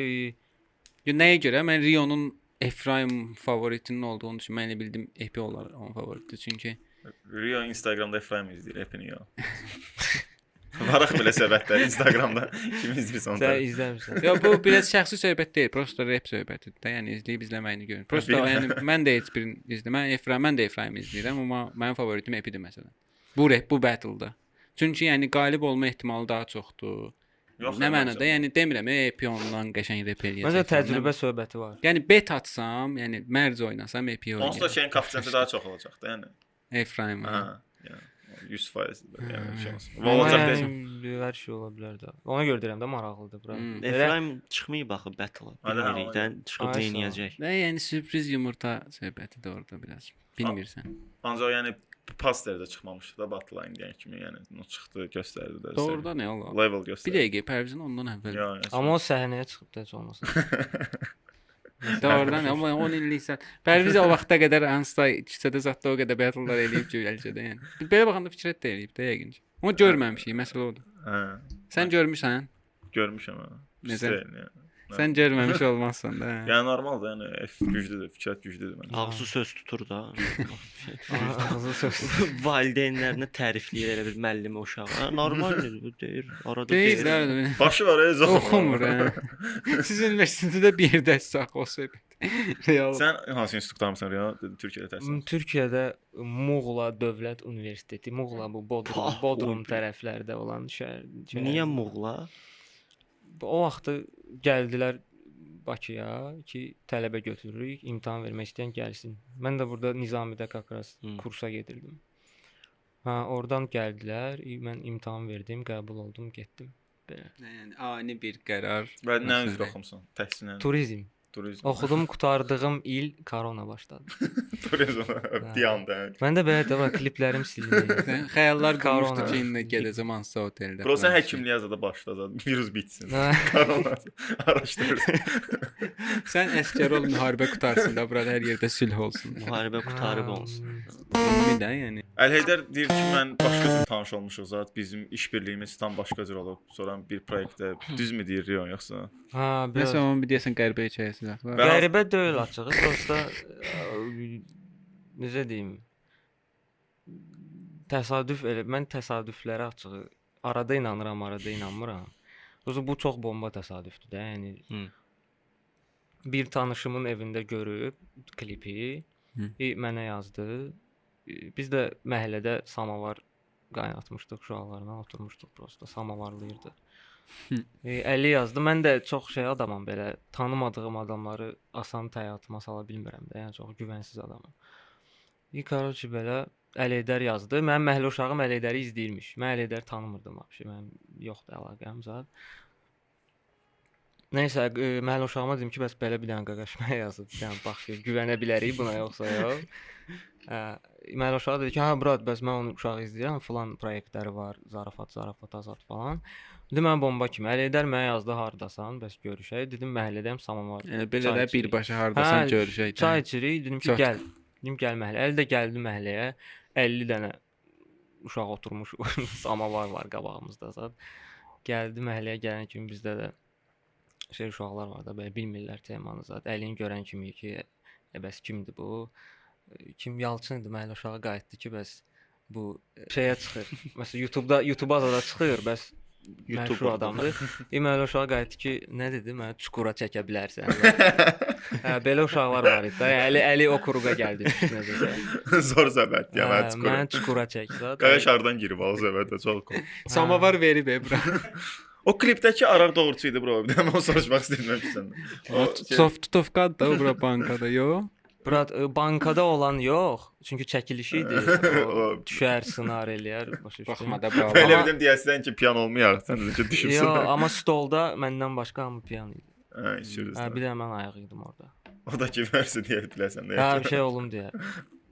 Yo, nəyə görə? Mən Rio'nun Efraim favoritinin olduğunu üçün mən elə bildim Epi olar onun favoritidir. Çünki Rio Instagramda Efraim izləyir, Epini yo. Varaq belə səbətlər Instagramda kim izləyirsə onu. Sən da- izləmirsən. Yo, bu biraz şəxsi söhbət deyil, prosta rep söhbətidir də, yəni izləyib izləməyini görün. Prosta Bilmirəm. yəni mən də heç birini izləmirəm. Mən Efraim, mən də Efraim izləyirəm, amma mənim favoritim Epidir məsələn. Bu rep, bu battle-da. Çünki yəni qalib olma ehtimalı daha çoxdur. Yox, nə mənada? Yəni demirəm, "Ey, Epi ondan qəşəng rep eləyəcək. Məncə falan." təcrübə söhbəti var. Yəni bet atsam, yəni mərc oynasam Epi yəni. Onsuz da oynayır. şeyin koeffisiyenti daha çox olacaq da, yəni. Efraim. hə. Aha. yəni, 100% də, Hmm. yəni şey olsun. Amma Olacaq yəni, deyəsən. Hər şey ola bilər də. Ona görə deyirəm də maraqlıdır bura. Hmm. Elə Efraim çıxmayıb axı battle. Hə də, Bilmirik də Ay, çıxıb sağ ol. neyniyəcək. Və yəni sürpriz yumurta söhbəti də orada biraz. Bilmirsən. Ancaq yəni posterdə çıxmamışdı da Batline deyən kimi, yəni o çıxdı, göstərdi də. Doğruda nə olar? level Bir göstərdi. dəqiqə Pərvizin ondan əvvəl. Yox, yox. Amma o səhnəyə çıxıb da heç olmasa. Doğrudan amma 10 illik sən. Pərviz o vaxta qədər Ansta küçədə zətdə o qədər battle-lar eləyib ki, eləcədə yəni. Belə baxanda Fikrət də eləyib də yəqin ki. Amma görməmişik, məsələ odur. Hə, Sən görmüsən? görmüşəm. hə. Pis Necə? deyil, yəni. Sən görməmiş olmazsan da. hə. Yəni normaldır, yəni F güclüdür, Fikrət güclüdür məncə. Ağzı söz tutur da. Ağzı söz. Valideynlərinə tərifləyir elə bir müəllimə uşağa. Normaldir bu deyir. Arada Deyil deyir. də öyle bir- Başı var, ey zor. Oxumur hə. Sizin universitetdə bir yerdə sax o söhbət. Real. Sən hansı institutdamısan, Real? Türkiyədə Hmm. təhsil. M, Türkiyədə Muğla Dövlət Universiteti, Muğla bu Bodrum, Pah, Bodrum oy be. tərəflərdə olan şəhər. şəhər. Niyə Muğla? O vaxtı gəldilər Bakıya ki, tələbə götürürük, imtahan vermək istəyən gəlsin. Mən də burada Nizamidə Kakras Hmm. kursa gedirdim. Ha, oradan gəldilər, i- mən imtahan verdim, qəbul oldum, getdim. Belə. Yəni ani bir qərar. Və nə Məsələn. üzrə oxumusan? Təhsillə, Turizm. turizm. Oxudum, qutardığım il korona başladı. Turizm. Bir anda. Məndə belə də var, kliplərim silindi. Sən Xəyallar qurmuşdu Korona. ki, indi gedəcəm Ansa oteldə. Bro sən falan bir şey. həkimliyə zada başlasan, virus bitsin. Ha, Korona araşdırırsan. Sən əsgər ol, müharibə qutarsın da, burada hər yerdə sülh olsun. Müharibə qutarib ha, olsun. Ümumi də yəni. Əlheydər deyir ki, mən başqa cür tanış olmuşuq zat. Bizim iş birliyimiz tam başqa cür olub. Sonra bir proyektdə düzmü deyir Rion yoxsa? Ha, Hə, biraz. Məsələn, onu bir deyəsən qəribə hekayəsi var. Bə- Qəribə deyil açığı, prosta e, necə deyim? Təsadüf elə mən təsadüflərə açığı arada inanıram, arada inanmıram. Özü bu çox bomba təsadüfdür də, yəni. Hı. Bir tanışımın evində görüb klipi, Hı. i, mənə yazdı. İ, Biz də məhəllədə samavar qaynatmışdıq, uşaqlarla oturmuşduq prosta samavarlayırdıq. E, 50 yazdı. Mən də çox şey adamam belə. Tanımadığım adamları asan həyatıma sala bilmirəm də. Yəni çox güvənsiz adamam. Bir karoçi belə Əliydər yazdı. Mənim məhəllə uşağım Əliydəri izləyirmiş. Mən Əliydəri tanımırdım vəbşə. Mənim yoxdu əlaqəm zət. Nəysə, e, məhəllə uşağıma dedim ki, bəs belə bir dənə qaqaşmaya yazıb. Yəni bax, gör, güvənə bilərik buna yoxsa yox. Hə, məhəllə uşağı dedi ki, hə Murad, bəs mən onun uşağı izləyirəm, filan layihələri var, zarafat, zarafat, azad falan. Dedi mən bomba kimi. Əlidər mənə yazdı hardasan, bəs görüşək. Dedim məhəllədəyəm, samavar. Yəni belə Çay də içirik. birbaşa hardasan Hə, görüşək. də. Çay içirik, dedim ki, Çat. gəl. Dedim gəl məhəlləyə. Əli də gəldi məhəlləyə. 50 dənə uşaq oturmuş samavar var qabağımızda zət. Gəldi məhəlləyə gələn kimi bizdə də şey uşaqlar var da belə bilmirlər temanı zət. Əlini görən kimi ki, "E, bəs kimdir bu? E, Kim Yalçın idi məhəllə uşağı qayıtdı ki, bəs bu e, şeyə çıxır. Məsələn YouTube-da YouTube azada çıxır, bəs YouTube YouTuber. adamdır. Deməli uşağa qayıtdı ki, nə dedi? Məni çuqura çəkə bilərsən. hə, belə uşaqlar var idi. da. Yəni Əli Əli o quruğa gəldi üstünə də. Zor zəbət ya Hə, mən Mən çıxıram. çuqura çək zat. Qaya şardan girib al zəbətə çox qorxdum. Samavar verib e bura. O klipdəki arar doğruçu idi bro. Bir də mən onu soruşmaq istəyirəm ki səndən. O şey- Soft tutovkad da bura bankada, yo. Brat e, bankada olan yox. Çünki çəkilişi idi. O O- Düşər, sınar eləyər, başa düşdün? Baxma da Belə bura. Amma- bildim deyəsən ki, piyan olmayaraq sən də ki düşübsən. Yox, amma stolda məndən başqa hamı piyan idi. Hə, içiriz. Hə, bir də. də mən ayaq idim orada. O da ki versə deyə biləsən də. Hə, bir şey olum deyə.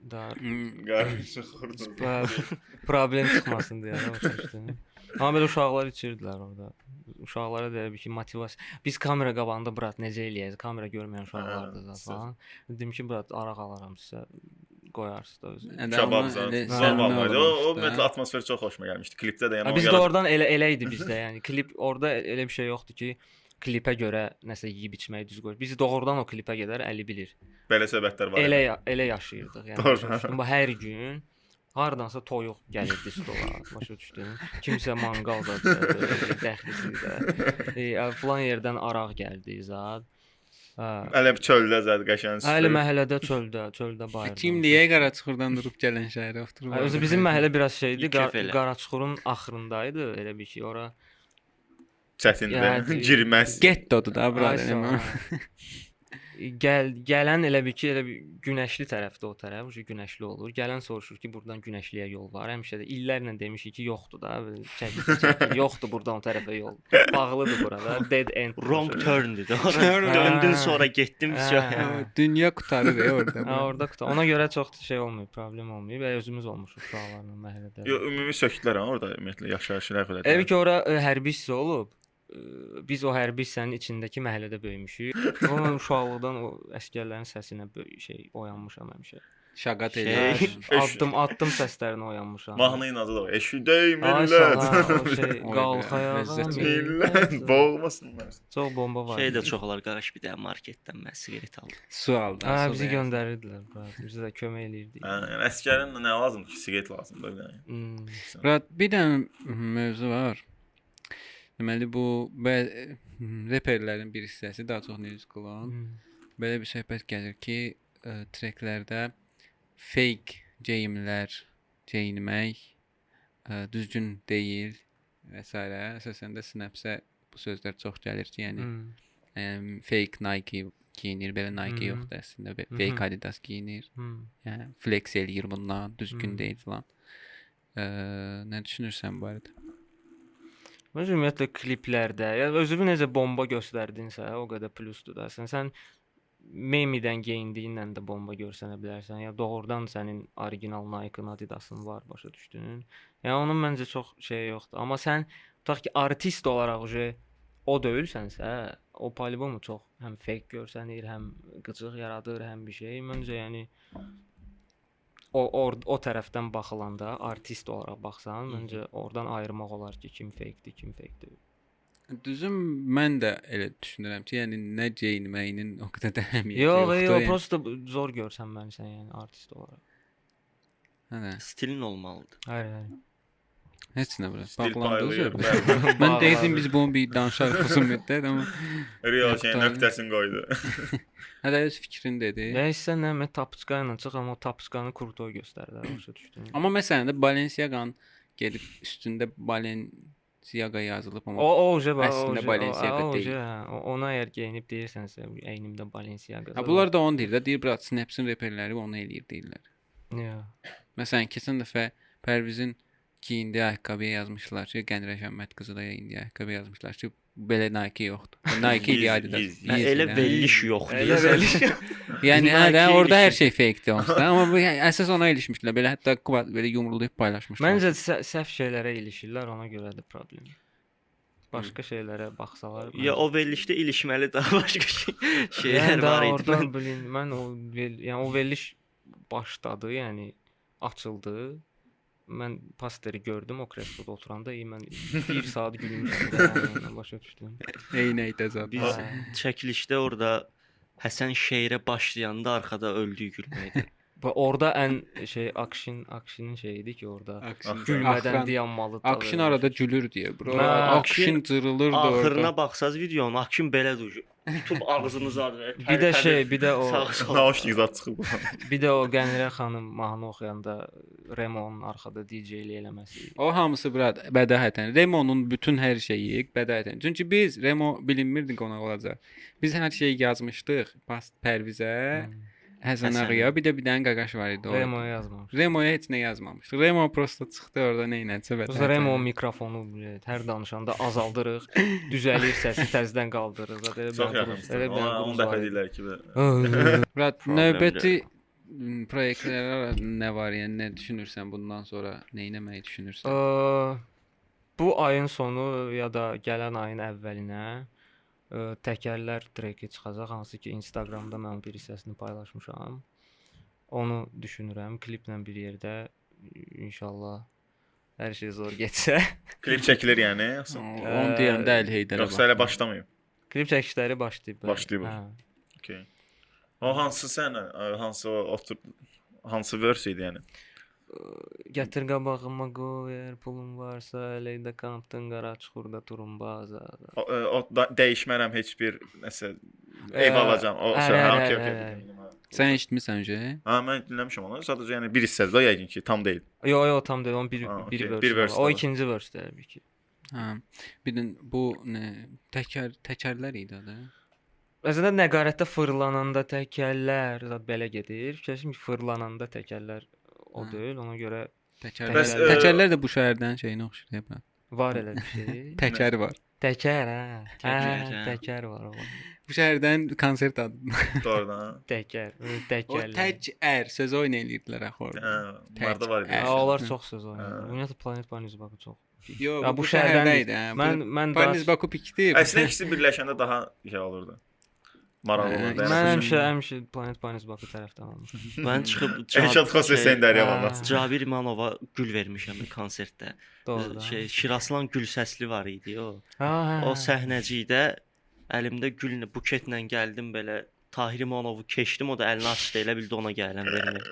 Dar. Qarşı xurdun. Hə, problem çıxmasın deyə hə, başa düşdün? Amma belə uşaqlar içirdilər orada. Uşaqlara da elə bir ki, motivasiya. Biz kamera qabağında brat necə eləyəcəyik? Kamera görməyən uşaqlardır Hə, da falan. Dedim ki, brat araq alaram sizə qoyarsınız da özünüz. Kababzad. Elə Sən Normal səmimi idi. O, o olmuşdu, ümumiyyətlə hə. atmosfer çox xoşuma gəlmişdi. Klipdə də yəni Ha, o biz də yarat- oradan elə elə idi bizdə, yəni klip orada elə bir şey yoxdur ki, klipə görə nəsə yeyib içməyi düz qoyur. Biz doğrudan o klipə qədər əli bilir. belə söhbətlər var. Elə ya- elə yaşayırdıq, yəni. Doğru. başa düşdün? Bu hər gün hardansa toyuq gəlirdi stola, başa düşdün? Kimsə manqal da dəxlisi də. E, falan yerdən araq gəldi zad. Hə, Hələ bir çöldə zəd qəşəng. Hə, elə məhəllədə, çöldə, çöldə bayırda. Kim deyə qara çıxırdan durub gələn şəhərə oturub. Hə, Özü bizim məhəllə biraz şeydi, İki qar fələ. Qaraçuxurun axırındaydı, elə bir ki, ora çətindir. Hə, Yəni- Girməz. gettodur da bura. Ay sağ ol, yəni. hə. Gəl gələn elə bir ki, elə bir günəşli tərəfdə o tərəf, uşu günəşli olur. Gələn soruşur ki, burdan günəşliyə yol var. Həmişə də illərlə demişik ki, yoxdur da, belə çəkil, çəkil, yoxdur burdan o tərəfə yol. Bağlıdır burada, dead end. Wrong turn dedi. Turn. Sonra döndün sonra getdim Hə. sonra. Hə, Dünya qutarır e orada. Hə, orada qutu. Ona görə çox da şey olmuyor, problem olmuyor. Belə özümüz olmuşuq uşaqlarla məhəllədə. Yo, ümumi sökdülər ha orada ümumiyyətlə hə, yaşayışlar Elə xələdə. ki, ora ə, e, hərbi hissə olub. Iı, biz o hərbi hissənin içindəki məhəllədə böyümüşük. Amma mən uşaqlıqdan o əsgərlərin səsinə böy- şey oyanmışam həmişə. Şaqat Şey- eləyir. Addım addım səslərinə oyanmışam. Mahnı inadı da var. Eşidey Ay sala, o millət. şey, qalx ayağa. Ləzzət. Millət boğulmasınlar. Çox bomba var. Şey də çoxlar qardaş bir də marketdən mən siqaret aldım. Su aldı. Hə, su bizi bəyaz. göndərirdilər, bura. Bizə də kömək eləyirdi. Hə, yəni əskərin nə lazımdır ki, siqaret lazımdır bir dənə. Hmm. Rad bir dənə mövzu var. Deməli bu bə- reperlərin bir hissəsi daha çox musiqi olan. hmm. Belə bir söhbət gəlir ki, ə, treklərdə fake geyimlər geyinmək ə, e, düzgün deyil və s. Əsasən də Snapsə bu sözlər çox gəlir ki, yəni Hmm. hmm. fake Nike giyinir, belə Nike Mhm. yoxdur əslində, be- Mhm. fake Adidas giyinir. Hmm. Yəni flex eləyir bundan, düzgün Hmm. deyil filan. Ə, nə düşünürsən bu arada? Mən ümumiyyətlə kliplərdə, ya özünü necə bomba göstərdinsə, o qədər plusdur da. Sən, sən memidən geyindiyinlə də bomba görsənə bilərsən. Ya doğrudan sənin orijinal Nike-ın, Adidas-ın var, başa düşdün? Yəni onun məncə çox şey yoxdur. Amma sən tutaq ki, artist olaraq uje o deyilsənsə, o polibomu çox həm fake görsənir, həm qıcıq yaradır, həm bir şey. Məncə yəni o or, o tərəfdən baxılanda, artist olaraq baxsan, məncə oradan ayırmaq olar ki, kim fake-dir, kim fake deyil. Düzüm mən də elə düşünürəm ki, yəni nə geyinməyinin o qədər də əhəmiyyəti Yox, yoxdur. yox, yəni. prosta bu- zor görsən məni sən yəni artist olaraq. Hə, hə. Stilin olmalıdır. Hayır, hayır. Heç nə bura. Stil paylayır. Bağlandı. Mən deyirdim biz bunu bir danışarıq uzun müddət, amma Real şey Yoxdur. nöqtəsini qoydu. hələ öz fikrini dedi. Nəysə, nə mən tapçıqa ilə çıx, amma o tapçıqanı kurtoy göstərdilər, başa düşdün? Amma məsələn də Balenciaga-nın gedib üstündə Balenciaga yazılıb O amma o je var. Əslində Balenciaga deyil. Ona əgər geyinib deyirsənsə, əynimdə Balenciaga. Ha bunlar da onu deyir də, deyir bura Snapsin reperləri onu eləyir deyirlər. Ya. Məsələn, keçən dəfə Pərvizin geyindiyi ayaqqabıya yazmışlar ki, Qənrə Şəmməd qızı da geyindiyi ayaqqabıya yazmışlar ki, belə Nike yoxdur. Nike idi Yeez- Adidas. yeez- Hə, Yeez elə idi, hə? belliş yoxdur. Elə belə. Yəni hə, də Nike orada hər işi. şey fake-dir onsuz. da, Amma bu yəni, əsas ona ilişmişdilər. Belə hətta kvadrat belə yumrulayıb paylaşmışlar. Məncə sə- səhv şeylərə ilişirlər, ona görə də problem. Başqa şeylərə baxsalar. Ya məncə- o verilişdə ilişməli daha başqa şey, Yəni şeylər daha var idi. oradan Mən- bilin, mən o vel, yəni o veriliş başladı, yəni açıldı. Mən pasteri gördüm o kresloda oturanda, iyi mən 1 saat gülmüşdüm. də, yəni, başa düşdüm. eynək də zaten. Biz Ha. çəkilişdə orada Həsən şeirə başlayanda arxada öldüyü gülməkdir. Və orada ən şey action action'ın şeyiydi ki, orada Akşin gülmədən dayanmalıdır. Akşin arada gülür diye bro. Ha, Akşin cırılırdı orada. Axırına baxsaz videonun Akşin belə duyur. Tutub ağzınızı ardı. bir də şey, bir də o Sağ sol. Naushnik zad çıxıb. bir də o Qənirə xanım mahnı oxuyanda Remonun arxada DJ-lik eləməsi. O hamısı brad bədahətən. Remo'nun bütün hər şeyi bədahətən. Çünki biz Remo bilinmirdi qonaq olacaq. Biz hər şeyi yazmışdıq. Pas Hmm. Pərvizə, Həsən Həsənə. Ağaya, bir də bir dənə qaqaş var idi orada. Remo yazmamış. Remo'ya heç nə yazmamışdı. Remo prosta çıxdı orada nə eləsə Biz Remo mikrofonu bilet, hər danışanda azaldırıq, düzəlir səsi, təzədən qaldırırıq. Zaten Elə Çox bir yaxınmışdır. elə bir Ona 10 qurumuz dəfə var idi. deyirlər ki, belə. Murat Problemdir. növbəti m, proyektlərə nə var? Yəni nə düşünürsən bundan sonra? Nə etməyi düşünürsən? Ə, Bu ayın sonu ya da gələn ayın əvvəlinə ə, təkərlər treki çıxacaq, hansı ki, Instagramda mən onun bir hissəsini paylaşmışam. Onu düşünürəm kliplə bir yerdə inşallah hər şey zor getsə. Klip çəkilir yəni. O- yoxsa- Onu deyəndə əl heydərə. Yoxsa elə baxdı. başlamayıb. Klip çəkişləri başlayıb. bəli. Başlayıb. Hə. Okay. O hansı sənə, hansı otur hansı verse idi yəni? Gətir qabağıma qoy, əgər pulum varsa, Leyda Kampton qara çuxurda turum baza. O, e, o da, dəyişmərəm heç bir nəsə ev alacağam. O hə, sən hə, ha, hə, okey, hə, okey. Sən eşitmisən öncə? Ha, mən dinləmişəm onu. Sadəcə yəni bir hissədir də yəqin ki, tam deyil. Yo yo tam deyil, onun bir Ha, okey, bir bir verse. verse var. o var. ikinci verse təbii ki. Hə. Bir də bu nə təkər təkərlər idi adı. Əslində nəqarətdə fırlananda təkərlər zat belə gedir. Fikirləşim ki, fırlananda təkərlər o Hə. deyil, ona görə Təkərlər. Bəs, Bəs, e, təkərlər də bu şəhərdən şeyinə oxşayır hə. var elə bir şey. Təkər var. təkər hə. Təkər, Hə, hə. təkər var o. Bu şəhərdən konsert adı. Doğrudan. Təkər, O ıı, təkərlər. təkər sözü oynayırdılar axı Hə, orada. bunlarda var idi. Hə, Təkər. onlar çox söz Hə. oynayır. Ümumiyyətlə Planet Banyu bax çox Yox, Ya, bu, bu bu şəhərdən şəhərdə deyil. idi. hə, bu- Mən mən Paris daha Baku pikdir. Əslində ikisi birləşəndə daha şey olurdu. Maraqlı Hə, olurdu. ikisi- mən Yəni, həmişə həmişə Planet Paris Bakı tərəfdən olmuşam. Mən çıxıb Elşad Xose sən şey, Dərya hə. Vallas. Cabir İmanova gül vermişəm bir konsertdə. Doğru. da. Şey Şiraslan gül səsli var idi o. Ha, hə, O hə. səhnəcikdə əlimdə güllə buketlə gəldim belə Tahir İmanovu keçdim, o da əlini açdı, elə bildi ona gələn vermək.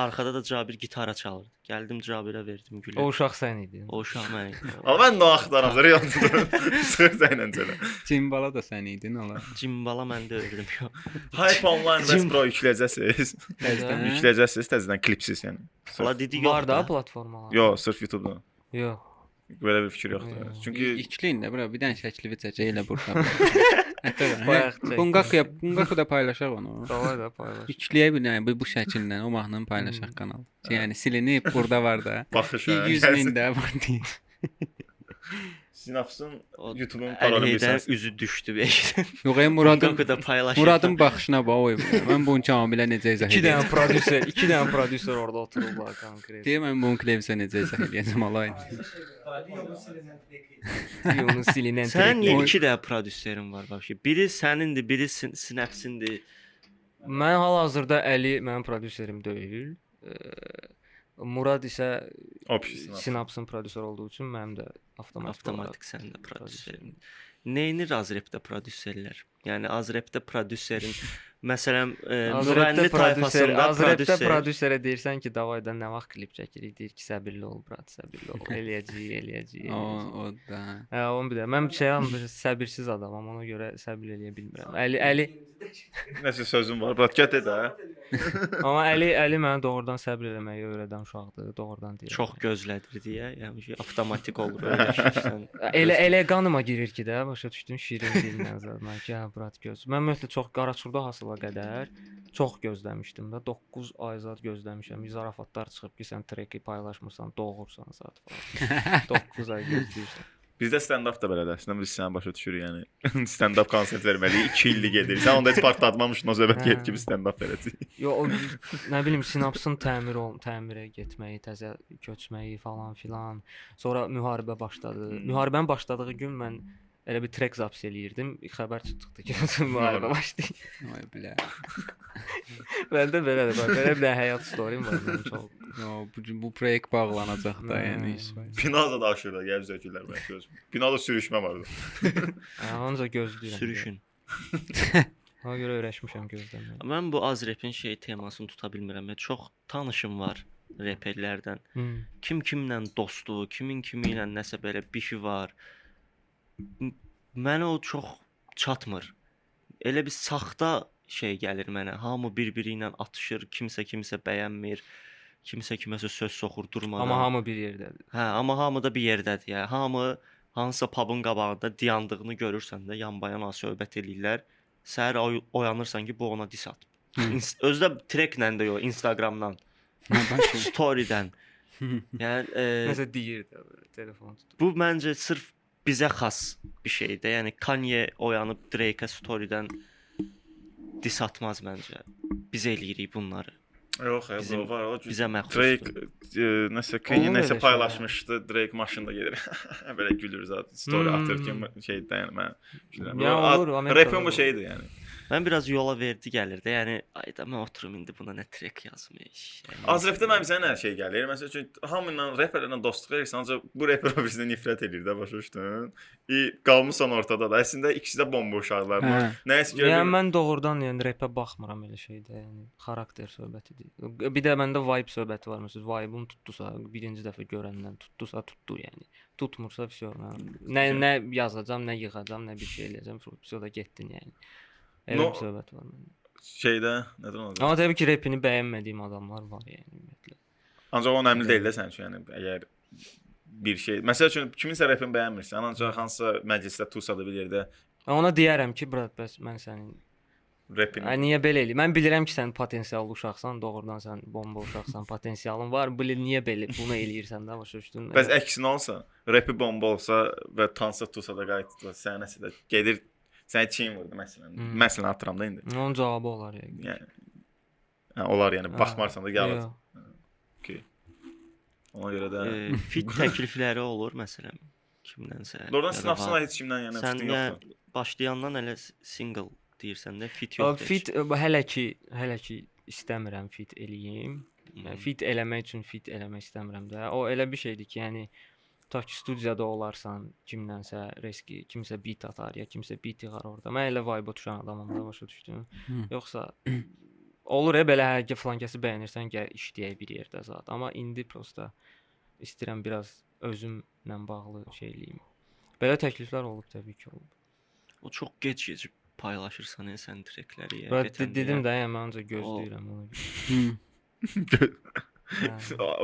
Arxada da Cabir gitara çalırdı. Gəldim Cabirə verdim gülü. O O, uşaq sən idi. o uşaq mən. Amma mən də axtaram real. Sıx zəyləncələ. Cimbala da sən idin ola. Cimbala məndə öyrədim. Hype Online West Pro yükləyəcəksiniz. Təzədən. Hə? yükləyəcəksiniz təzədən klipsiz yəni. Ola Sırf- dedi Var yox da da. platformalar. Yox, sırf YouTube-dan. Yox. Belə bir fikir yoxdur. Yox. Çünki İkliyin də bura bir dənə şəkli çəkək elə burda. Hətta Bayaq çəkdik. Bunqakuya, Bunqaku da paylaşaq onu. Davay da paylaş. İkliyə bir dənə bu, bu şəkillə o mahnını Hmm. paylaşaq kanal. Yəni silinib burada var da. baxış hə, 100 yəni min də var deyil. Sinapsın O- YouTube-un paralel Əliyədən bir üzü düşdü beydən. Yox, ey Muradın Qanqı da paylaşdı. Muradın baxışına bax oy. Mən bunu kamilə necə izah İki edəcəm? dənə prodüser, iki dənə prodüser orada oturublar konkret. Deyir mən bunu klevsə necə izah edəcəm alayın. Onun Sənin silinən trackləri. niyə iki də prodüserin var baxşı. Biri sənindir, biri sin sinəpsindir. Mən hal-hazırda Əli mənim prodüserim deyil. Eee, Murad isə Opsiyon. Sinapsın prodüser olduğu üçün mənim də avtomatik, Avtomatik avtomatik. sənin də prodüserin. Neyinir Azrepdə prodüserlər? Yəni Azrepdə prodüserin məsələn e, Nurənli Azrepdə prodüser, tayfasında Azrepdə prodüser prodüserə deyirsən ki, davayda nə vaxt klip çəkirik, deyir ki, səbirli ol, Murad, səbirli ol. Eləyəcəyik, eləyəcəyik. O, eləyəcəyik. o da. Hə, onu bilirəm. Mən şey am səbirsiz adamam, ona görə səbir eləyə bilmirəm. Əli Əli Nəsə sözüm var. Bratkat et hə. amma Əli Əli mənə doğrudan səbir eləməyi öyrədən uşaqdır, doğrudan deyirəm. çox gözlədir deyə, yəni avtomatik olur öyrəşirsən. Elə elə qanıma girir ki də, başa düşdün şirin dillə zərmən ki, hə, brat göz. Mən ümumiyyətlə çox qaraçurda hasıla qədər çox gözləmişdim də. 9 ay zad gözləmişəm. Zarafatlar çıxıb ki, sən treki paylaşmırsan, doğursan zat falan. 9 ay gözləyirsən. Bizdə stand-up da belədir. Əslində biz səni başa düşürük yəni. stand-up konsert verməliyik. 2 illik gedir. Sən onda heç partlatmamışdın o söhbət Hə. get kimi stand-up verəcək. Yo, o nə bilim sinapsın təmir ol, təmirə getməyi, təzə köçməyi falan filan. Sonra müharibə başladı. Hmm. Müharibənin başladığı gün mən elə bir trek zaps eləyirdim. Xəbər çıxdı ki, müharibə başlayıb. Oy bilə. Məndə belədir bax. Belə bir həyat storyim var mənim çox. Yo, bu, bu proyekt bağlanacaq da, yəni. Hmm. heç vaxt. Binada da aşırıda gəlib zəkirlər mən söz. Binada sürüşmə vardı. Hə, Ancaq gözləyirəm. Sürüşün. Ona görə öyrəşmişəm gözləməyə. Mən bu Azrepin şey temasını tuta bilmirəm. ya. Çox tanışım var reperlərdən. Hmm. Kim kimlə dostluğu, kimin kimi ilə nəsə belə bişi var. M- Mənə o çox çatmır. Elə bir saxta şey gəlir mənə. Hamı bir-biri ilə atışır, kimsə kimsə bəyənmir. Kimsə kiməsə söz soxur durmadan. Amma hamı bir yerdədir. Hə, amma hamı da bir yerdədir. Yəni hamı hansısa pubun qabağında diyandığını görürsən də yan-bayana söhbət eləyirlər. Səhər oy- oyanırsan ki, bu ona dis atıb. İns- Özü də treklə də yox, Instagramdan, Mən başım. storydən. Yəni e, Nəsə deyir də belə, telefon tutub. bu məncə sırf bizə xas bir şeydir. Yəni Kanye oyanıb Drake-ə storydən dis atmaz məncə. Biz eləyirik bunları. Yox, hə, Bizim- bu var. O Bizə məxsusdur. Drake e, nəsə Kanye Onun nəsə belə paylaşmışdı. Drake maşında gedir. Belə gülür zaten. Story Hmm. atır ki şeydən yəni mən gülürəm. Ya, Bu, olur, a- Amerikada Rapin bu olur. şeydir yəni. Mən biraz yola verdi gəlir də. Yəni ay da mən oturum indi buna nə trek yazmış. e, Yəni, Azrəfdə mənim sənə hər şey gəlir. Məsəl üçün hamı ilə reperlərlə dostluq edirsən, ancaq bu reper o birinə nifrət eləyir də, başa düşdün? İ qalmısan ortada da. Əslində ikisi də bomba uşaqlardır. Hə. Nəyəsə görə Yəni bir- mən doğrudan yəni repə baxmıram elə şeydə, yəni xarakter söhbətidir. Bir də məndə vibe söhbəti var. Məsələn, vibe-um tutdusa, birinci dəfə görəndən tutdusa, tutdu yəni. Tutmursa, vəsə nə nə yazacağam, nə yığacağam, nə bir şey eləyəcəm, vəsə da getdin yəni. Elə No- bir söhbət var məndə. şeydə nədən olacaq? Amma təbii ki, repini bəyənmədiyim adamlar var yəni ümumiyyətlə. Ancaq o önəmli deyil də sənin üçün. Yəni əgər bir şey, məsəl üçün kiminsə rapini bəyənmirsən, ancaq hansısa məclisdə, tusada bir yerdə Mən ona deyərəm ki, brat, bəs mən sənin. rapini Ay niyə belə eləyir? Mən bilirəm ki, sən potensiallı uşaqsan, doğrudan sən bomba uşaqsan, potensialın var. Bilir niyə belə bunu eləyirsən də başa düşdün? Bəs əksinə olsa, repi bomba olsa və tansa tusada qayıtdı, səhnəsə də gedir, səni çiyin vurdu məsələn. Hmm. Hmm. Məsələn atıram da indi. onun cavabı olar yəqin. Yəni hə, olar yəni Hə, baxmarsan da gəlir. Yox. Okey. Ona görə də. Eee, fit təklifləri olur məsələn kimdənsə. ya Doğrudan da sınaqsına var. heç kimdən yəni Sən fikrin ya yoxdur. başlayandan elə single deyirsən də fit Yox, yox. fit e, bu hələ ki, hələ ki istəmirəm fit eləyim. Hmm. Yəni fit eləmək üçün fit eləmək istəmirəm də. O elə bir şeydir ki, yəni ta ki studiyada olarsan, kimdənsə riski, kimsə beat atar ya kimsə beat yığar orada. Mən elə vibe düşən adamam da başa düşdün? Hı. Yoxsa olur ya belə hər falan kəsi bəyənirsən, gəl işləyək bir yerdə zat. Amma indi prosta istəyirəm biraz özümlə bağlı şey eləyim. Belə təkliflər olub təbii ki, olub. O çox gec gec paylaşırsan yəni sən trekləri. ya, Və BTM de- 'də dedim ya. də, yəni mən ancaq gözləyirəm onu. Hı. Hə.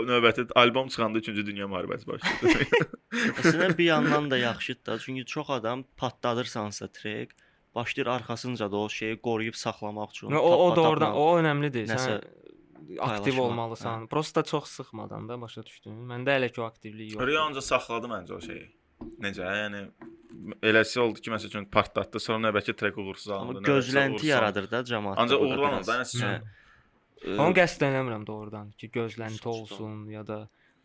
Növbəti albom çıxanda 3-cü dünya müharibəsi başladı. Əslində bir yandan da yaxşıdır da, çünki çox adam patladırsansa trek başlayır arxasınca da o şeyi qoruyub saxlamaq üçün. Və o o da tapa-tapla- orada o önəmlidir. nəsə Sən aktiv paylaşmaq, olmalısan. Prosta çox sıxmadan da başa düşdün. Məndə hələ ki o aktivlik yoxdur. Riyanca saxladı məncə o şeyi. Necə? Yəni eləsi oldu ki, məsəl üçün partlatdı, sonra növbəti trek uğursuz alındı. Amma növbəti gözlənti uğursuz yaradır da cəmaatda. Ancaq bu da uğurlanır biraz. da, nəsə Hə. üçün. Onu qəsdlənmirəm doğrudan ki, gözlənti Saçma. olsun ya da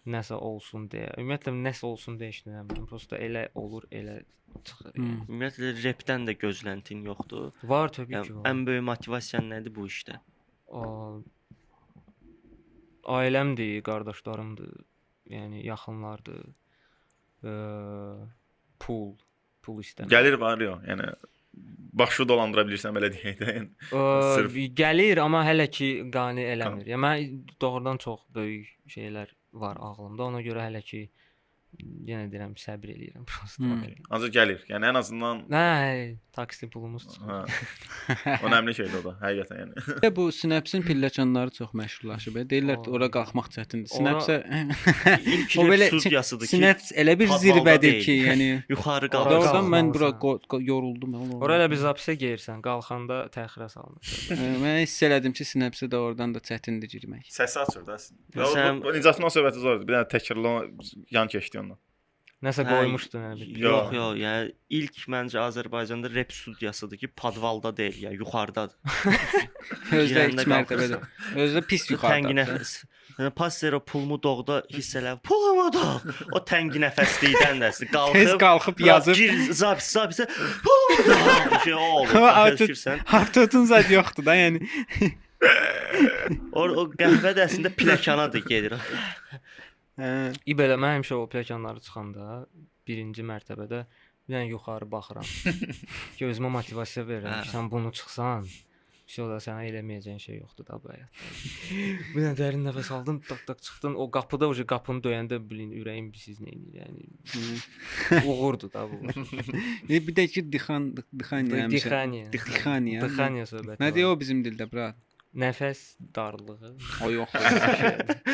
nəsə olsun deyə. Ümumiyyətlə nəsə olsun deyə işləmirəm. Prosta elə olur, elə çıxır. Hı. yəni. Ümumiyyətlə repdən də gözləntin yoxdur. Var təbii ki. Yəni var. ən böyük motivasiyan nədir bu işdə? A- ailəmdir, qardaşlarımdır, yəni yaxınlardır. Ə, pul, pul istəmirəm. Gəlir var yo, yəni başı dolandıra bilirsən belə deyək də. yəni. Ə, Sırf- gəlir, amma hələ ki qane eləmir. Yəni mən doğrudan çox böyük şeylər var ağlımda. Ona görə hələ ki yenə deyirəm səbr eləyirəm prosta. Hmm. Hmm. Ancaq gəlir. Yəni ən azından Hə, taksi pulumuz hə. çıxır. O nəmli şeydir o da, həqiqətən yəni. Və bu sinapsin pilləkənləri çox məşhurlaşıb. e. Deyirlər ki, Oy. ora qalxmaq çətindir. Ora- Sinapsə İlk O belə rep çi- studiyasıdır ki, sinaps elə bir padvalda zirvədir deyil. ki, yəni yuxarı Ora qalxır. Doğrudan mən bura qalxmalısan. qo- qo- yoruldum mən oğlum. Ora elə bir zapisə geyirsən, qalxanda təxirə salınır. Ə, Mən hiss elədim ki, sinapsə də oradan da çətindir girmək. Səsi açır da əslində. Yəni sən- Nicatın o söhbəti zordur. Bir dənə təkrarlan yan keçdi ondan. Nəsə Hə, qoymuşdun elə bir. Yox. Yox, yox, yəni ilk məncə Azərbaycanda rep studiyasıdır ki, podvalda deyil, yəni yuxarıdadır. Özdə Girəndə iki mərtəbədə. Özdə pis Təngi yuxarıda. nəfəs. Yəni passero pulumu doğda hissələr. Pulumu doğ. O təngi nəfəslikdən də əsli Tez qalxıb qalxıb yazıb. Gir zapis zapisə. Pulumu doğ. Şey olur. Artıq- Fikirsən. Haftotun zad yoxdur da, yəni. O, o qəhvə də əslində pilləkanadır gedir. Hə. İ belə mən həmişə o pilləkənləri çıxanda birinci mərtəbədə bir dənə yuxarı baxıram. ki özümə motivasiya verirəm. Hə. ki, Sən bunu çıxsan, bir şey ola sənə eləməyəcəyin şey yoxdur da bu həyatda. bir dənə dərin nəfəs aldın, tak tak çıxdın. O qapıda o qapını döyəndə bilin ürəyim bir siz nə edir. Yəni uğurdur da bu. E, Bir də ki, dixan, dixan həmişə. Dixaniya. Dixaniya. Dixaniya söhbəti. Nə var. deyə o bizim dildə, brat? Nəfəs darlığı. O yox.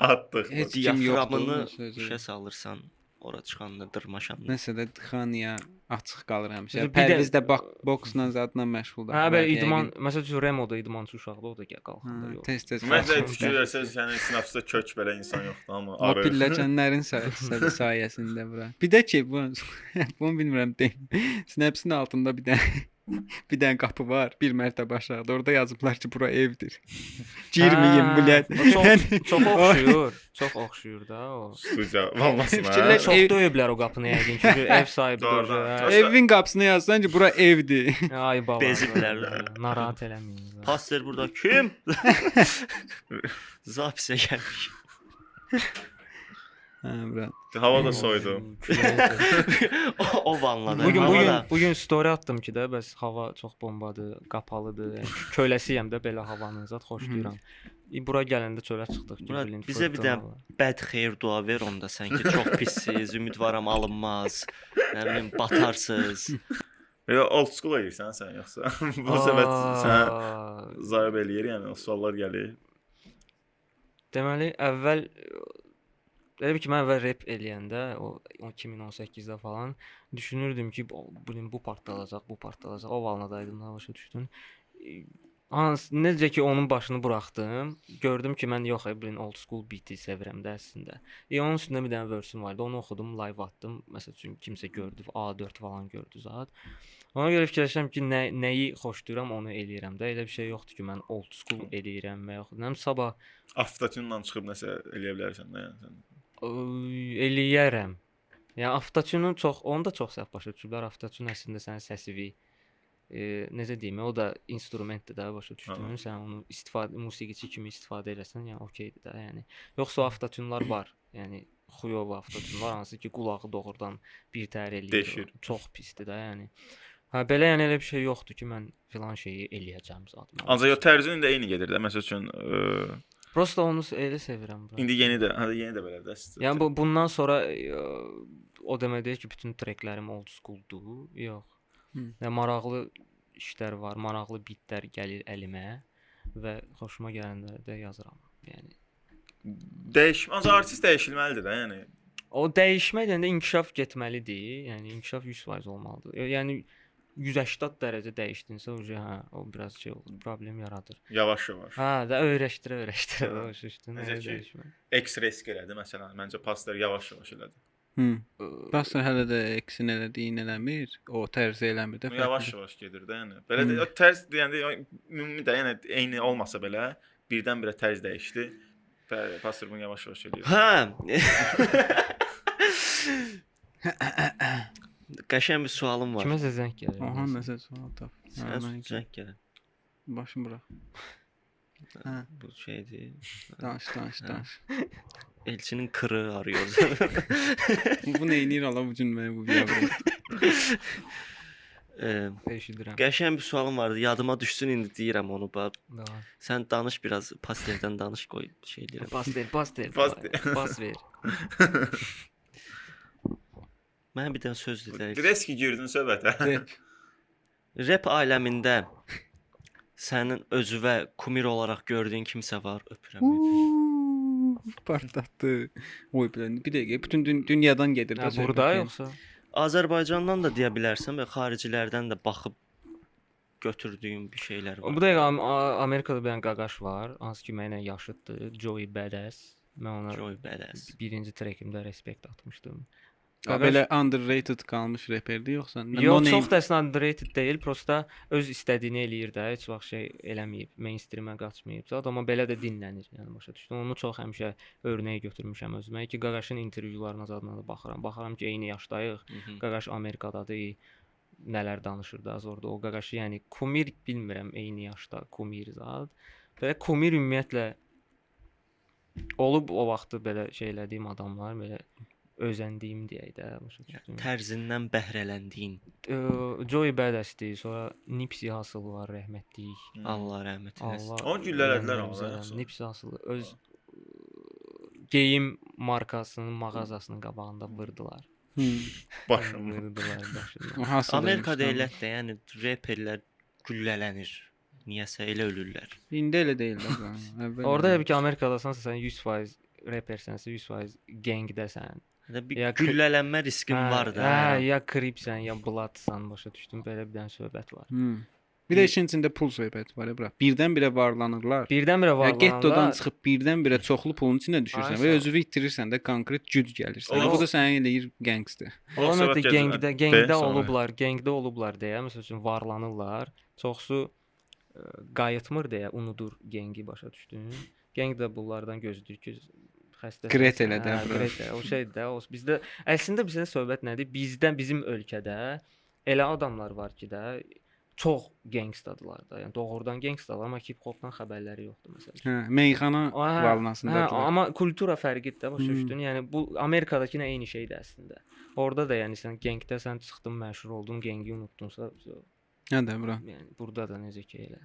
Atdıq. Heç kim yoxdur. Diyaframını onun sözü. işə salırsan, ora çıxanda dırmaşanda. Nəsə də Xaniya açıq qalır həmişə. Bir də- Pərviz də bak boksla zadla məşğuldur. Hə, Hə belə idman, məsəl üçün Remoda idmançı uşaqda o da gəl qalxanda yox. Tez-tez. Məncə qalxır. fikir versəz, yəni sinapsda kök belə insan yoxdur, amma O arı. pilləkənlərin say- say- sayəsində bura. Bir də ki, bu bunu bilmirəm deyim. Snapsin altında bir dənə bir dənə qapı var, bir mərtəbə aşağıda. Orada yazıblar ki, bura evdir. Girməyin, Hə, bilet. o çox- Çox Oy. oxşuyur. Çox oxşuyur da o. Studiya, vallahi. Fikirləş- mən- Çox Ev- döyüblər o qapını yəqin ki, ev sahibi Doğru, döyür. doğru. Evin qapısına yazsan ki, bura evdir. Ay baba. Beziblər. Narahat eləməyin. Pastor burada kim? Zapisə gəlmiş. Hə, bura. Hava da soyudu. o, o vanla da. Bugün hava bugün da- bugün story atdım ki də bəs hava çox bombadır, qapalıdır. Yəni Köləsiyəm də belə havanın zət xoşlayıram. İ bura gələndə çölə çıxdıq ki, Murad, bilin. bizə bir də fırtına var. bəd xeyir dua ver onda sən ki çox pissiz, ümidvaram alınmaz. Nə bilim batarsız. Ya old school eləyirsən sən yoxsa? Bu səbəb sən Aa, zayıb eləyir, yəni o suallar gəlir. Deməli, əvvəl e, elə bil ki, mən əvvəl rep eləyəndə o 2018-də falan düşünürdüm ki, bu gün bu partlayacaq, bu partlayacaq. O valnadaydım, nə başa düşdün? E, Hans, necə ki onun başını buraxdım, gördüm ki mən yox, Eblin old school beat-i sevirəm də əslində. E onun üstündə bir dənə verse var idi. Onu oxudum, live atdım. Məsəl üçün kimsə gördü, A4 falan gördü zat. Ona görə fikirləşirəm ki, nə nəyi xoşlayıram, onu eləyirəm də. Elə bir şey yoxdur ki, mən old school eləyirəm və yaxud nə bilim, sabah Avtotunla çıxıb nəsə eləyə bilərsən də yəni sən. Iy, eləyərəm. Yəni avtotunun çox, onu da çox səhv başa düşüblər. Avtotun əslində sənin səsivi e, necə deyim, o da instrumentdir də başa düşdün. Aha. Sən onu istifadə musiqiçi kimi istifadə eləsən, yəni okeydir də, yəni. Yoxsa o avtotunlar var. Yəni xuyov avtotunlar hansı ki, qulağı doğrudan bir təhər eləyir. Deşir. Çox pisdir də, yəni. Hə belə yəni elə bir şey yoxdur ki, mən filan şeyi eləyəcəm zətn. Ancaq o tərzin də eyni gedir də. Məsəl üçün ə, Prosta onu elə sevirəm. bura. indi yeni də, hə yeni də belə də. Yəni bu bundan sonra e, o demək deyir ki, bütün treklərim old schooldur. Yox. Hmm. Nə maraqlı işlər var, maraqlı bitlər gəlir əlimə və xoşuma gələndə də yazıram. Yəni Dəyiş, ancaq artist dəyişilməlidir də, yəni. o dəyişmək deyəndə inkişaf getməlidir. Yəni inkişaf 100% olmalıdır. E, Yəni 180 dərəcə dəyişdinsə, o hə, o biraz şey olur, problem yaradır. Yavaş-yavaş. Hə, də öyrəşdirə, öyrəşdirə Hə. danışışdın. Necə ki- X-risk elədi məsələn. Məncə pasları yavaş-yavaş elədi. Hmm. Bəsdir hələ də eksin elədiyin eləmir. O tərzi eləmir də. Bu Yavaş-yavaş gedir də, yəni. Belə Hmm. də o tərz deyəndə yəni, ümumi də yəni eyni olmasa belə birdən-birə tərz dəyişdi. Və pastor bunu yavaş-yavaş eləyir. Hə. Qəşəng bir sualım var. Kiməsə zəng gəlir. Oha nəsə. nəsə sual tap. Sən Ha, mən- soruşacaq gələ. Başım bura. Hə. Bu şeydir. Danış, danış, Ha. danış. Elçinin kırı arıyoruz. bu, bu nə eləyir ala bu gün mənə bu biabır. Eee, Eşidirəm. Qəşəng bir sualım vardı. Yadıma düşsün indi deyirəm onu bax. Daha. Sən danış biraz pasteldən danış qoy şey deyirəm. Pas ver, pas ver. Pas davay, ver. Pas ver. Mən bir dənə söz deyirəm. Reski girdin söhbətə. Rep. Rep aləmində sənin özünə kumir olaraq gördüyün kimsə var? Öpürəm. Partladı. Oy bilən. Bir dəqiqə bütün dün dünyadan gedir. Ha, də burada söhbət, yoxsa? Azərbaycandan da deyə bilərsən və xaricilərdən də baxıb götürdüyün bir şeylər var. Bu dəqiqə Am- A- Amerikada bir dənə qaqaş var, hansı ki mənimlə yaşıddır, Joey Badass. Mən ona Joy badass. birinci trekimdə respekt atmışdım. yəni. A, Belə underrated qalmış reperdi yoxsa? Yox, çox da əslində underrated deyil, prosta öz istədiyini eləyir də, heç vaxt şey eləməyib, mainstreamə qaçmayıb. Zat amma belə də dinlənir, yəni başa düşdün. Onu çox həmişə örnək götürmüşəm özümə ki, qaqaşın intervyularına zadına da baxıram. Baxıram ki, eyni yaşdayıq. Mhm. Qaqaş Amerikadadır. Nələr danışır da az orada. O Qaqaşı, yəni Kumir bilmirəm eyni yaşda Kumir zad. Belə Kumir ümumiyyətlə olub o vaxtı belə şey elədiyim adamlar, belə özəndiyim deyək də başa düşdüm. Tərzindən bəhrələndiyin. Mhm. Joy Badass-dir, sonra Nipsey Hussle var, rəhmətlik. Hmm. Allah rəhmət Allah. eləsin. Onu güllələdilər amma, rəhmət yoxsa? eləsin. Nipsey Hussle öz geyim markasının mağazasının qabağında vurdular. Hmm. Başım. Vurdular başından. Amerikada elə də, yəni reperlər güllələnir. Niyəsə elə ölürlər. İndi elə deyil də. bu. Əvvəl Orada elə. elə bir ki Amerikadasansa sən 100% repersənsə 100% gengdəsən. Hətta bir Ya ya, kri- güllələnmə riskim Hə, var da. Hə, ya kripsən, ya bladsan başa düşdüm. Belə bir dənə söhbət var. Hmm. Bir də işin içində pul söhbəti var, bura. Birdən-birə varlanırlar. Birdən-birə Ya var. gettodan çıxıb birdən-birə çoxlu pulun içinə düşürsən Ay, və sağ ol. özünü itirirsən də konkret güc gəlir sənə. Ola- Bu da səni eləyir gangster. Ola Onlar da söhbət gedir, gengdə, hə. De, gengdə sonra. olublar, gengdə olublar deyə, məsəl üçün varlanırlar. Çoxsu ə, qayıtmır deyə unudur gengi başa düşdün. Geng də bunlardan gözləyir ki xəstə. Qret elə də, bura. Qretə, o şey də, o bizdə əslində bizdə söhbət nədir? Bizdən bizim ölkədə elə adamlar var ki də çox gengstadılar da. Yəni doğrudan gengstadılar, amma hip-hopdan xəbərləri yoxdur məsələn. Hə, meyxana Hə, Hə, varlanasındadır. amma kultura fərqidir də başa Hmm. düşdün. Yəni bu Amerikadakı nə eyni şeydir əslində. Orda da yəni sən gengdə sən çıxdın, məşhur oldun, gengi unutdunsa, Hə də bura. Hmm. yəni burada da necə ki elə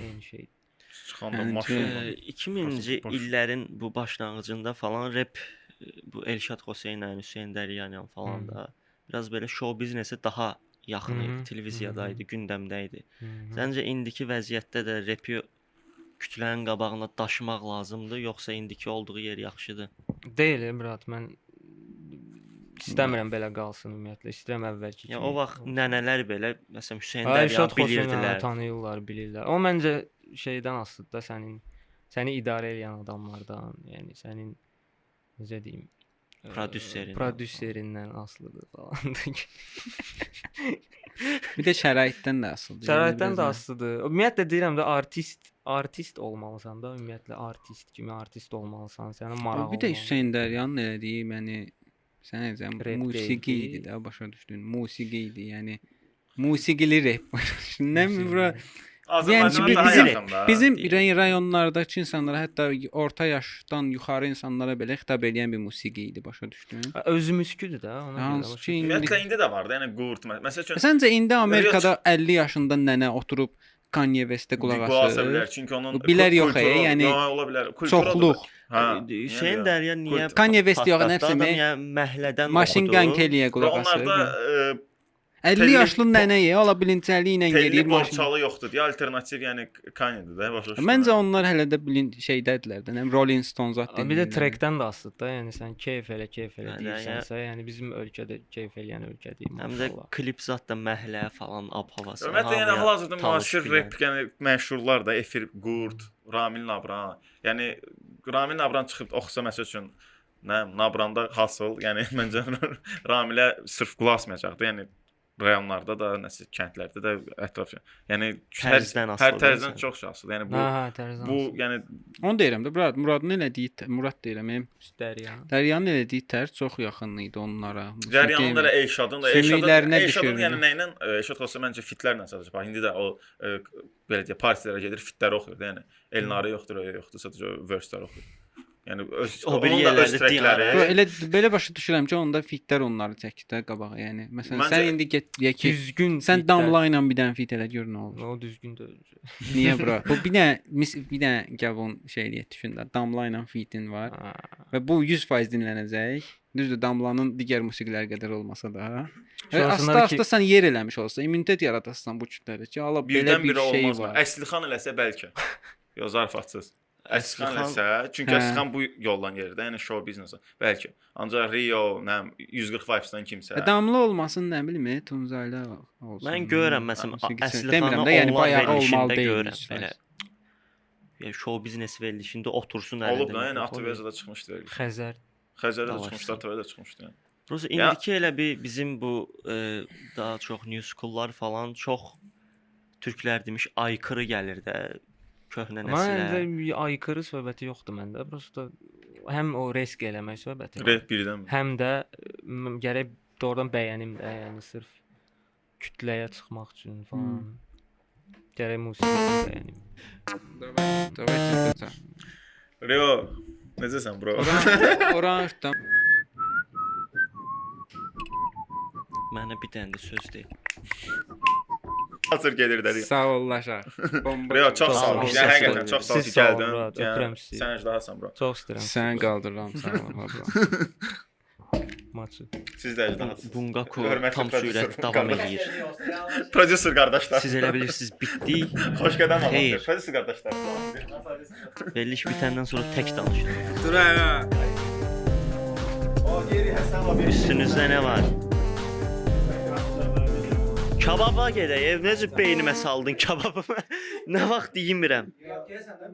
eyni şey. Çıxanda Yəni, maşın. e, var. Ə, 2000-ci Boş- boş. illərin bu başlanğıcında falan rep bu Elşad Hüseynlən, Hüseyn Dəliyanyan falan Hı. Mhm. da biraz belə şou biznesə daha yaxın Hı hı, idi, televiziyada idi, gündəmdə idi. Hmm. Sən Səncə indiki vəziyyətdə də repi kütlənin qabağına daşımaq lazımdır, yoxsa indiki olduğu yer yaxşıdır? deyil Emrad, mən istəmirəm belə qalsın ümumiyyətlə. İstəyirəm əvvəlki kimi. Yəni o vaxt nənələr belə məsələn Hüseynlər ya Ayşad Xoşuna bilirdilər. tanıyırlar, bilirlər. O məncə şeydən asılıdır da sənin səni idarə edən adamlardan, yəni sənin necə deyim, eee, Prodüserindən. prodüserindən asılıdır falan. Bir də şəraitdən də asılıdır. Yəni, Şəraitdən də biraz- asılıdır. Ümumiyyətlə deyirəm də artist, artist olmalısan da, ümumiyyətlə artist kimi artist olmalısan, sənin marağın. Bir də olmalı. Hüseyn Dəryanın elədiyi, yəni sən necəm Rap musiqi deyildi. idi də başa düşdün. Musiqi idi, yəni musiqili rep. Nə mi bura? Azərbaycana biz- daha bizim- yaxın da. Bizim rey- rayonlardakı insanlara, hətta orta yaşdan yuxarı insanlara belə xitab edən bir musiqi idi, başa düşdün? Özümüzküdür də, ona görə Hansı başa ki, düşürəm. Ümumiyyətlə indi də var da, yəni qurt. mə- Məsəl üçün Səncə E indi Amerikada 50 yaşında nənə oturub Kanye West-ə qulaq bilər asır? çünki onun Bilər kul- yox, e, kulturu- yəni Yo, ola bilər. yəni Kulturu Çoxluq. odur. Hüseyn Dərya niyə Kult- Kanye West yox, patlatdı? nəfsimi- Adam yəni məhlədən Maşin oxudu. Gun Kelly-yə Və qulaq asır. onlarda e, 50 telli- yaşlı nənəyə ola bilincəliyi ilə telli gedir maşın. borçalı yoxdur. deyə alternativ yəni Kanyedir də başa düşdün. Məncə onlar hələ də bilin şeydədirlər də, nə bilim, Rolling Stones at Abi bir də trekdən də asılıdır da, yəni sən keyf elə, keyf elə Bəli, deyirsənsə, yəni bizim ölkədə keyf eləyən ölkədəyik. Həm də maşallah. klip zat da məhlə falan ab havası. Ümumiyyətlə yəni hamıya hal-hazırda tanış müasir bir rep yəni məşhurlar da Efir Qurd, Ramil Nabran. Yəni Ramil Nabran çıxıb oxusa məsəl üçün nə bilim, Nabranda hasıl, yəni məncə Ramilə sırf qulaq asmayacaqdı. Yəni rayonlarda da, nəsə kəndlərdə də ətraf. Yəni hər, Tərzdən asılıdır hər tərzdən insan. çox şanslıdır. Yəni bu Ha, ha, tərzan. bu yəni Onu deyirəm də, Murad, Muradın elədiyi, tə- Murad deyirəm, em, dərya. Dəryanın elədiyi tərz çox yaxın idi onlara. Cəryanın da Elşadın da Elşadın Sümüklərinə Elşadın düşürdü. yəni nə ilə e, Elşad Xosa məncə fitlərlə sadəcə bax indi də o e, belə deyə partilərə gedir fitləri oxuyur da yəni Elnarı yoxdur o yoxdur sadəcə o verslər oxuyur. Yəni öz O biri onun da öz yerlərdə trekləri. Yo, hə. elə belə başa düşürəm ki, onda fitlər onları çəkdi də qabağa, yəni. Məsələn, Məncə... sən Məncə- indi get deyək ki, Düzgün. sən fitlər- damla ilə bir dənə fit elə gör nə olur. O düzgün də. Niyə bura? Bu bir dənə mis bir dənə gavun şey eləyət düşün də. Damla ilə fitin var Ha. və bu 100% dinlənəcək. Düzdür, damlanın digər musiqiləri qədər olmasa da. Və Sonrasında da ki- asta-asta sən yer eləmiş olsa, immunitet yaradasan bu kütləyə ki, ala belə Birdən bir birə şey olmaz. var. Əslixan eləsə bəlkə. Yo zarafatsız. Əslixan Əslixan- eləsə, çünki Hə. Əslixan bu yoldan gedir də, yəni show biznesi. Bəlkə. Ancaq Rio, nə bilim, 140 vibes-dan kimsə. Və E, Damla olmasın, nə bilim, e, Tunzayla olsun. Mən görürəm məsələn Musiqisi- Əslixanı də, yəni bayağı bayağı olmalı olmalı deyil, görürəm heç belə. Yəni show biznes verilişində otursun əlində. Olub da, yəni mikrofon. ATV-də çıxmışdı. Xəzər. Xəzərdə Dalaşsın. də çıxmışdı, ATV-də çıxmışdı. yəni. Prosta Ya- indiki elə bir bizim bu e, daha çox new school'lar falan çox türklər demiş aykırı gəlir də köhnə nəslə. Məndə aykırı söhbəti yoxdur məndə. Prosta həm o risk eləmək söhbəti. var, Rep birdən. Həm də m, gərək doğrudan bəyənim də, yəni sırf kütləyə çıxmaq üçün falan. Gərək musiqini bəyənim. Davay, davay, davay, davay. Rio, necəsən bro? Oran- Oranjdan. Mənə bir dənə də söz deyil. Hazır gedir də. Rio. Sağ ollaşaq. Bomba. Rio çox Sağ sağ ol, ol. biz Yəni sağ həqiqətən olun. çox sağ ol ki Siz sağ olun, gəldin. Murad, öpürəm Yəni sizi. sən əjdahasan bro. Çox istəyirəm. Sən qaldırıram, sağ ol. abla. maçı. Siz də əjdahasınız. Bungaku Hörmətli tam prodüser sürət Bungaku. davam eləyir. Prodüser qardaşlar. Siz elə bilirsiniz bitdik. Xoş qədəm Xeyr. alın. Prodüser qardaşlar. Veriliş bitəndən sonra tək danışın. Dur ha. O geri Həsən abi. Üstünüzdə nə var? Kababa gedək. Ev necə beynimə saldın kababı? nə vaxt yemirəm?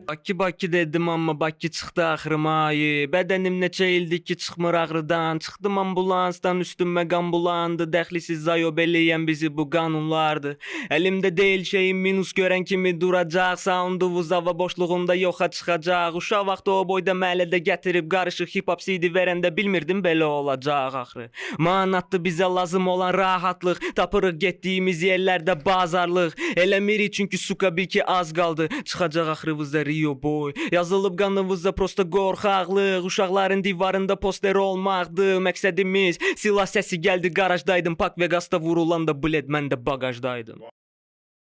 Bakı Bakı dedim amma Bakı çıxdı axırıma ayı. Bədənim neçə ildir ki çıxmır ağrıdan. Çıxdım ambulansdan üstümə qan bulandı. Dəxlisiz zayo beləyən bizi bu qanunlardı. Əlimdə deyil şeyin minus görən kimi duracaq. Sounduvuz hava boşluğunda yoxa çıxacaq. Uşaq vaxtı o boyda məhəllədə gətirib qarışıq hip hop CD verəndə bilmirdim belə olacaq axırı. Manatdı bizə lazım olan rahatlıq. Tapırıq getdiyimiz yerlərdə bazarlıq. Eləmirik çünki suka bil ki az qaldı. Çıxacaq axırımızda Rio boy. Yazılıb qanımızda prosta qorxaqlıq. Uşaqların divarında poster olmaqdı məqsədimiz. Silah səsi gəldi qarajdaydım. Pak Vegasda vurulanda bled mən də baqajdaydım.